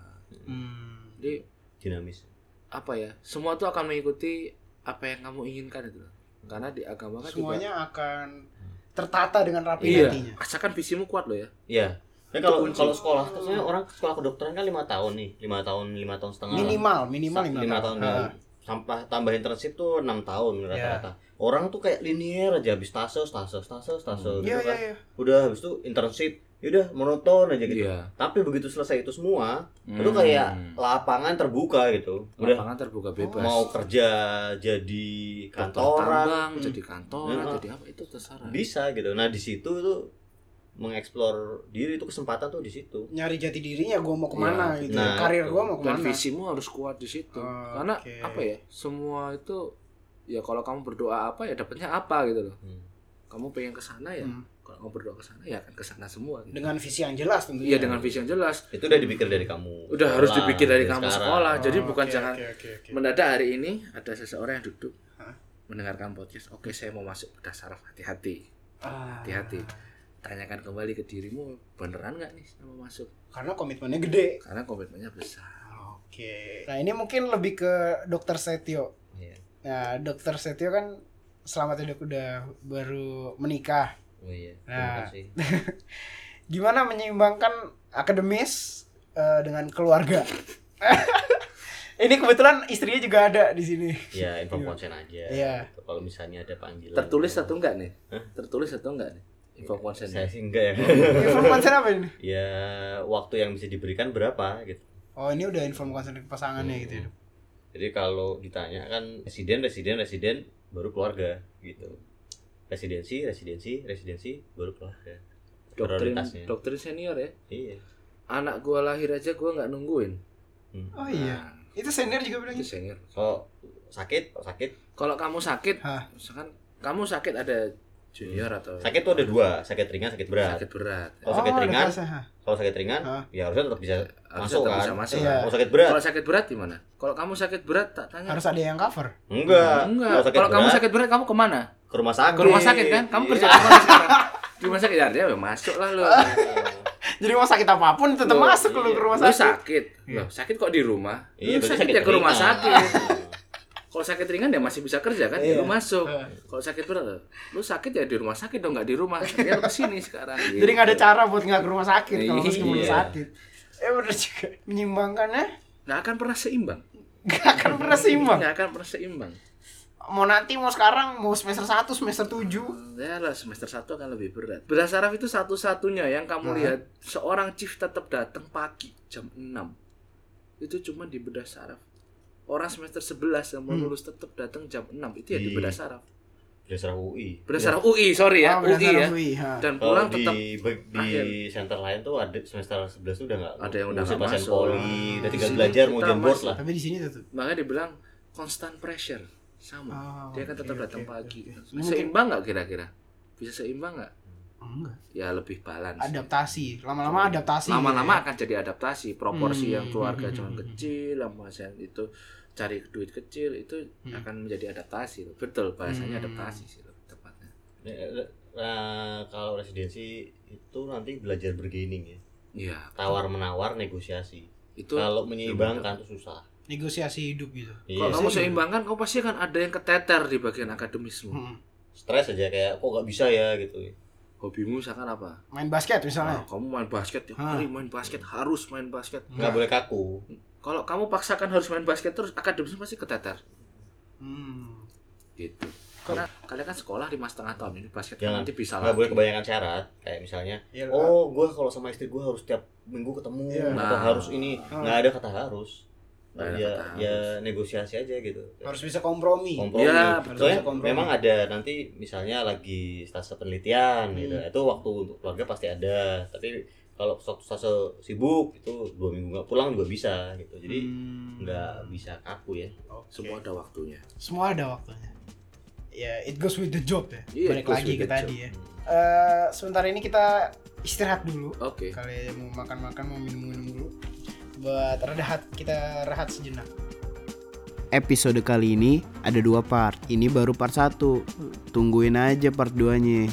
Speaker 2: Hmm.
Speaker 3: jadi
Speaker 1: dinamis
Speaker 3: apa ya semua tuh akan mengikuti apa yang kamu inginkan itu loh karena di agama kan
Speaker 2: Semuanya akan tertata dengan
Speaker 3: juga
Speaker 2: rapi
Speaker 3: iya
Speaker 2: nantinya.
Speaker 3: asalkan visimu kuat loh ya
Speaker 1: Iya. Nah, kalau
Speaker 3: kunci.
Speaker 1: kalau sekolah, tuh sebenarnya orang sekolah kedokteran kan lima tahun nih, lima tahun, lima tahun setengah. lah.
Speaker 2: Minimal, minimal
Speaker 1: Hmm. Sa-
Speaker 2: lima,
Speaker 1: lima tahun.
Speaker 2: Ha.
Speaker 1: Nah, Sampah tambah internship tuh enam tahun rata-rata. Orang tuh kayak linier aja habis stase, stase, stase, stase
Speaker 3: Hmm.
Speaker 1: gitu
Speaker 2: Iya, iya,
Speaker 1: kan.
Speaker 2: iya.
Speaker 1: Udah habis itu internship, yaudah monoton aja gitu.
Speaker 3: iya
Speaker 1: Tapi begitu selesai itu semua,
Speaker 3: Hmm.
Speaker 1: itu kayak lapangan terbuka gitu. Udah
Speaker 3: lapangan terbuka bebas
Speaker 1: mau kerja jadi
Speaker 3: Dokter
Speaker 1: kantoran
Speaker 3: tambang
Speaker 2: Hmm.
Speaker 3: jadi kantoran
Speaker 1: Iya.
Speaker 3: jadi apa itu terserah
Speaker 1: bisa gitu. Nah, di situ tuh mengeksplor diri itu kesempatan tuh di situ.
Speaker 2: Nyari jati dirinya gua mau kemana
Speaker 3: Iya.
Speaker 2: gitu.
Speaker 1: Nah, itu.
Speaker 2: Karir gua mau
Speaker 3: dan
Speaker 2: kemana.
Speaker 3: visimu harus kuat di situ
Speaker 2: Oke.
Speaker 3: karena apa ya semua itu ya kalau kamu berdoa apa ya dapatnya apa gitu loh
Speaker 1: Hmm.
Speaker 3: kamu pengen ke sana ya
Speaker 2: Hmm.
Speaker 3: kalau kamu berdoa ke sana ya akan ke sana semua gitu.
Speaker 2: Dengan visi yang jelas tentunya.
Speaker 3: Iya dengan visi yang jelas.
Speaker 1: itu udah dipikir dari kamu
Speaker 3: Udah harus
Speaker 1: Sekolah,
Speaker 3: dipikir dari kamu
Speaker 1: sekarang.
Speaker 3: sekolah. ah, Jadi
Speaker 2: Oh,
Speaker 3: bukan
Speaker 2: oke,
Speaker 3: jangan-
Speaker 2: oke, oke, oke.
Speaker 3: Mendadak hari ini ada seseorang yang duduk
Speaker 2: Hah?
Speaker 3: mendengarkan podcast. Oke, saya mau masuk bedah saraf. Hati-hati.
Speaker 2: Ah.
Speaker 3: Hati-hati. Tanyakan kembali ke dirimu, beneran nggak nih saya mau masuk?
Speaker 2: Karena komitmennya gede.
Speaker 3: Karena komitmennya besar.
Speaker 2: Oke. Nah ini mungkin lebih ke Dokter Setio.
Speaker 1: Iya.
Speaker 2: Nah Dokter Setio kan selama tadi udah baru menikah.
Speaker 1: oh iya terima
Speaker 2: Nah.
Speaker 1: kasih
Speaker 2: Gimana menyeimbangkan akademis eh, dengan keluarga? ini kebetulan istrinya juga ada di sini.
Speaker 1: ya info
Speaker 2: Iya.
Speaker 1: konsen aja
Speaker 2: Iya.
Speaker 1: gitu. kalau misalnya ada panggilan
Speaker 3: Tertulis
Speaker 1: gitu.
Speaker 3: atau enggak nih?
Speaker 1: Hah?
Speaker 3: Tertulis atau enggak nih? Info konsen.
Speaker 1: saya sih enggak ya
Speaker 2: Inform konsen apa Iya. ini?
Speaker 1: ya waktu yang bisa diberikan berapa gitu
Speaker 2: Oh ini udah inform konsen ke pasangannya gitu. ya.
Speaker 1: jadi kalau ditanya kan residen residen residen baru keluarga gitu residensi residensi residensi baru keluarga
Speaker 3: Doktrin,
Speaker 1: prioritasnya
Speaker 3: doktrin senior ya.
Speaker 1: iya
Speaker 3: Anak gua lahir aja gua nggak nungguin.
Speaker 1: Hmm.
Speaker 2: Oh iya.
Speaker 3: Nah,
Speaker 2: Itu senior juga bilang
Speaker 3: itu
Speaker 2: gitu.
Speaker 3: senior.
Speaker 1: kalau sakit kalau sakit
Speaker 3: Kalau kamu sakit,
Speaker 2: Hah.
Speaker 3: misalkan kamu sakit ada junior atau
Speaker 1: sakit tuh ada dua sakit ringan sakit berat
Speaker 3: sakit berat. ya.
Speaker 1: kalau sakit
Speaker 2: Oh, ada
Speaker 1: ringan
Speaker 2: kelasnya, ha.
Speaker 1: kalau sakit ringan
Speaker 2: Hah?
Speaker 1: ya harusnya tetap bisa
Speaker 3: Harusnya
Speaker 1: Masuk
Speaker 3: tetap
Speaker 1: kan?
Speaker 3: bisa masuk.
Speaker 2: Iya.
Speaker 3: kan?
Speaker 1: kalau sakit berat
Speaker 3: Kalau sakit berat gimana? Kalau kamu sakit berat tak tanya.
Speaker 2: Harus ada yang cover.
Speaker 1: Enggak.
Speaker 3: Enggak. Kalau kamu sakit berat kamu kemana?
Speaker 1: ke rumah sakit. Iya.
Speaker 3: Ke rumah sakit kan? Kamu kerja di mana sekarang? Di rumah sakit ya dia ya masuk lah lo.
Speaker 2: Jadi mau sakit apapun tetap
Speaker 1: Loh,
Speaker 2: masuk lu
Speaker 1: iya.
Speaker 2: ke rumah
Speaker 3: Lu
Speaker 2: sakit.
Speaker 3: sakit. Loh, sakit kok di rumah?
Speaker 1: Iya,
Speaker 3: Lu
Speaker 1: berarti Iya.
Speaker 3: sakit ya ke rumah
Speaker 1: ringan.
Speaker 3: sakit. Kalau sakit ringan ya masih bisa kerja kan,
Speaker 2: Iya.
Speaker 3: di rumah masuk.
Speaker 2: Heeh.
Speaker 3: Kalau sakit berat, lu sakit ya di rumah sakit dong, nggak di rumah. Ya lu kesini sekarang.
Speaker 2: Jadi nggak ada cara buat nggak ke rumah sakit
Speaker 3: Iya.
Speaker 2: kalau harus ke rumah sakit. Eh bener juga. Menyimbangkan ya?
Speaker 3: Nggak akan pernah seimbang.
Speaker 2: Gak akan pernah seimbang.
Speaker 3: Nggak akan pernah seimbang.
Speaker 2: Mau nanti, mau sekarang, mau semester 1, semester 7
Speaker 3: Ya lah, semester 1 akan lebih berat. Beras saraf itu satu-satunya yang kamu
Speaker 2: Hah?
Speaker 3: lihat seorang chief tetap datang pagi jam 6. Itu cuma di bedah saraf. Orang semester 11 yang mau
Speaker 2: Hmm. Iya.
Speaker 3: lulus tetap datang jam 6. Itu ya di
Speaker 1: Di-
Speaker 3: bedah saraf.
Speaker 1: Berdasar UI.
Speaker 3: Bedah
Speaker 2: Ya.
Speaker 3: saraf UI, sorry
Speaker 2: Ah,
Speaker 3: ya, UI
Speaker 2: berdasar
Speaker 3: ya.
Speaker 2: UI, ha.
Speaker 3: Dan
Speaker 1: Kalau
Speaker 3: pulang
Speaker 1: Oh, di
Speaker 3: tetap
Speaker 1: be- di
Speaker 3: akhir.
Speaker 1: center lain tuh ada semester 11 tuh udah enggak
Speaker 3: Ada yang udah nggak masuk.
Speaker 1: poli, udah
Speaker 3: Di
Speaker 1: tinggal
Speaker 3: sini
Speaker 1: belajar mau
Speaker 3: kita
Speaker 1: join board
Speaker 3: masuk.
Speaker 1: lah.
Speaker 2: Tapi di sini tetap.
Speaker 3: makanya dibilang constant pressure sama.
Speaker 2: Oh,
Speaker 3: Dia akan
Speaker 2: oke,
Speaker 3: tetap
Speaker 2: oke,
Speaker 3: datang
Speaker 2: oke,
Speaker 3: pagi. Nah,
Speaker 2: oke.
Speaker 3: Seimbang nggak kira-kira? Bisa seimbang nggak?
Speaker 2: Enggak.
Speaker 3: Ya lebih balance.
Speaker 2: Adaptasi, lama-lama adaptasi.
Speaker 3: lama-lama akan jadi adaptasi
Speaker 2: Iya.
Speaker 3: proporsi
Speaker 2: Hmm.
Speaker 3: yang keluarga
Speaker 2: Hmm.
Speaker 3: cuman kecil lama sen itu cari duit kecil itu
Speaker 2: Hmm.
Speaker 3: akan menjadi adaptasi loh. betul bahasanya
Speaker 2: Hmm.
Speaker 3: adaptasi sih loh, tepatnya
Speaker 1: Nah, Eh, kalau residensi itu nanti belajar bergaining ya.
Speaker 3: iya
Speaker 1: Tawar menawar negosiasi.
Speaker 3: itu
Speaker 1: Kalau menyeimbangkan tuh susah.
Speaker 2: Negosiasi hidup gitu.
Speaker 3: kalau
Speaker 1: Iya.
Speaker 3: kamu
Speaker 2: sih.
Speaker 3: seimbangkan kamu pasti akan ada yang keteter di bagian akademismu
Speaker 2: Mm.
Speaker 1: Stres aja kayak kok nggak bisa ya gitu.
Speaker 3: hobimu seakan apa
Speaker 2: Main basket
Speaker 3: Nah,
Speaker 2: misalnya. Ah. Hmm.
Speaker 3: kamu main basket tiap
Speaker 2: Hah.
Speaker 3: hari main basket harus main basket
Speaker 1: Nggak boleh kaku.
Speaker 3: kalau kamu paksakan harus main basket terus akademismu pasti keteter Oh.
Speaker 2: Hmm.
Speaker 3: gitu karena kalian kan sekolah lima setengah tahun ini basket kan
Speaker 1: Jangan.
Speaker 3: nanti bisa
Speaker 1: Nggak
Speaker 3: lagi.
Speaker 1: boleh kebanyakan syarat. Kayak misalnya
Speaker 2: Iya,
Speaker 1: Oh, gue kalau sama istri gue harus tiap minggu ketemu
Speaker 2: Iya.
Speaker 1: atau
Speaker 3: Nah.
Speaker 1: harus ini
Speaker 2: Ah.
Speaker 1: nggak ada kata harus.
Speaker 3: Nggak ada
Speaker 1: ya,
Speaker 3: kata harus.
Speaker 1: ya negosiasi aja gitu.
Speaker 2: harus bisa kompromi.
Speaker 1: Kompromi.
Speaker 3: Iya,
Speaker 2: betul.
Speaker 1: Soalnya
Speaker 2: Kompromi.
Speaker 1: memang ada nanti misalnya lagi stase penelitian gitu.
Speaker 2: Hmm.
Speaker 1: Itu waktu untuk keluarga pasti ada. Tapi kalau suatu stase sibuk itu dua minggu nggak pulang juga bisa gitu. Jadi
Speaker 2: Hmm.
Speaker 1: nggak bisa kaku ya.
Speaker 2: Oke.
Speaker 3: semua ada waktunya
Speaker 2: semua ada waktunya ya it goes with the job ya
Speaker 3: Iya, it
Speaker 2: balik
Speaker 3: goes
Speaker 2: lagi
Speaker 3: with
Speaker 2: ke
Speaker 3: the
Speaker 2: tadi
Speaker 3: job. Hmm.
Speaker 2: ya Eh, sebentar ini kita istirahat dulu
Speaker 3: oke
Speaker 2: kalian mau makan-makan mau minum-minum dulu buat rehat kita rehat sejenak episode kali ini ada dua part ini baru part 1 tungguin aja part 2 nya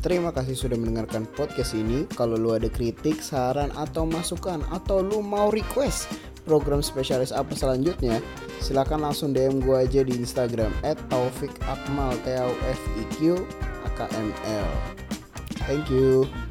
Speaker 2: Terima kasih sudah mendengarkan podcast ini. Kalau lu ada kritik, saran atau masukan atau lu mau request program spesialis apa selanjutnya, silakan langsung DM gua aja di Instagram @taufikakmal t a u f i q a k m l. Thank you.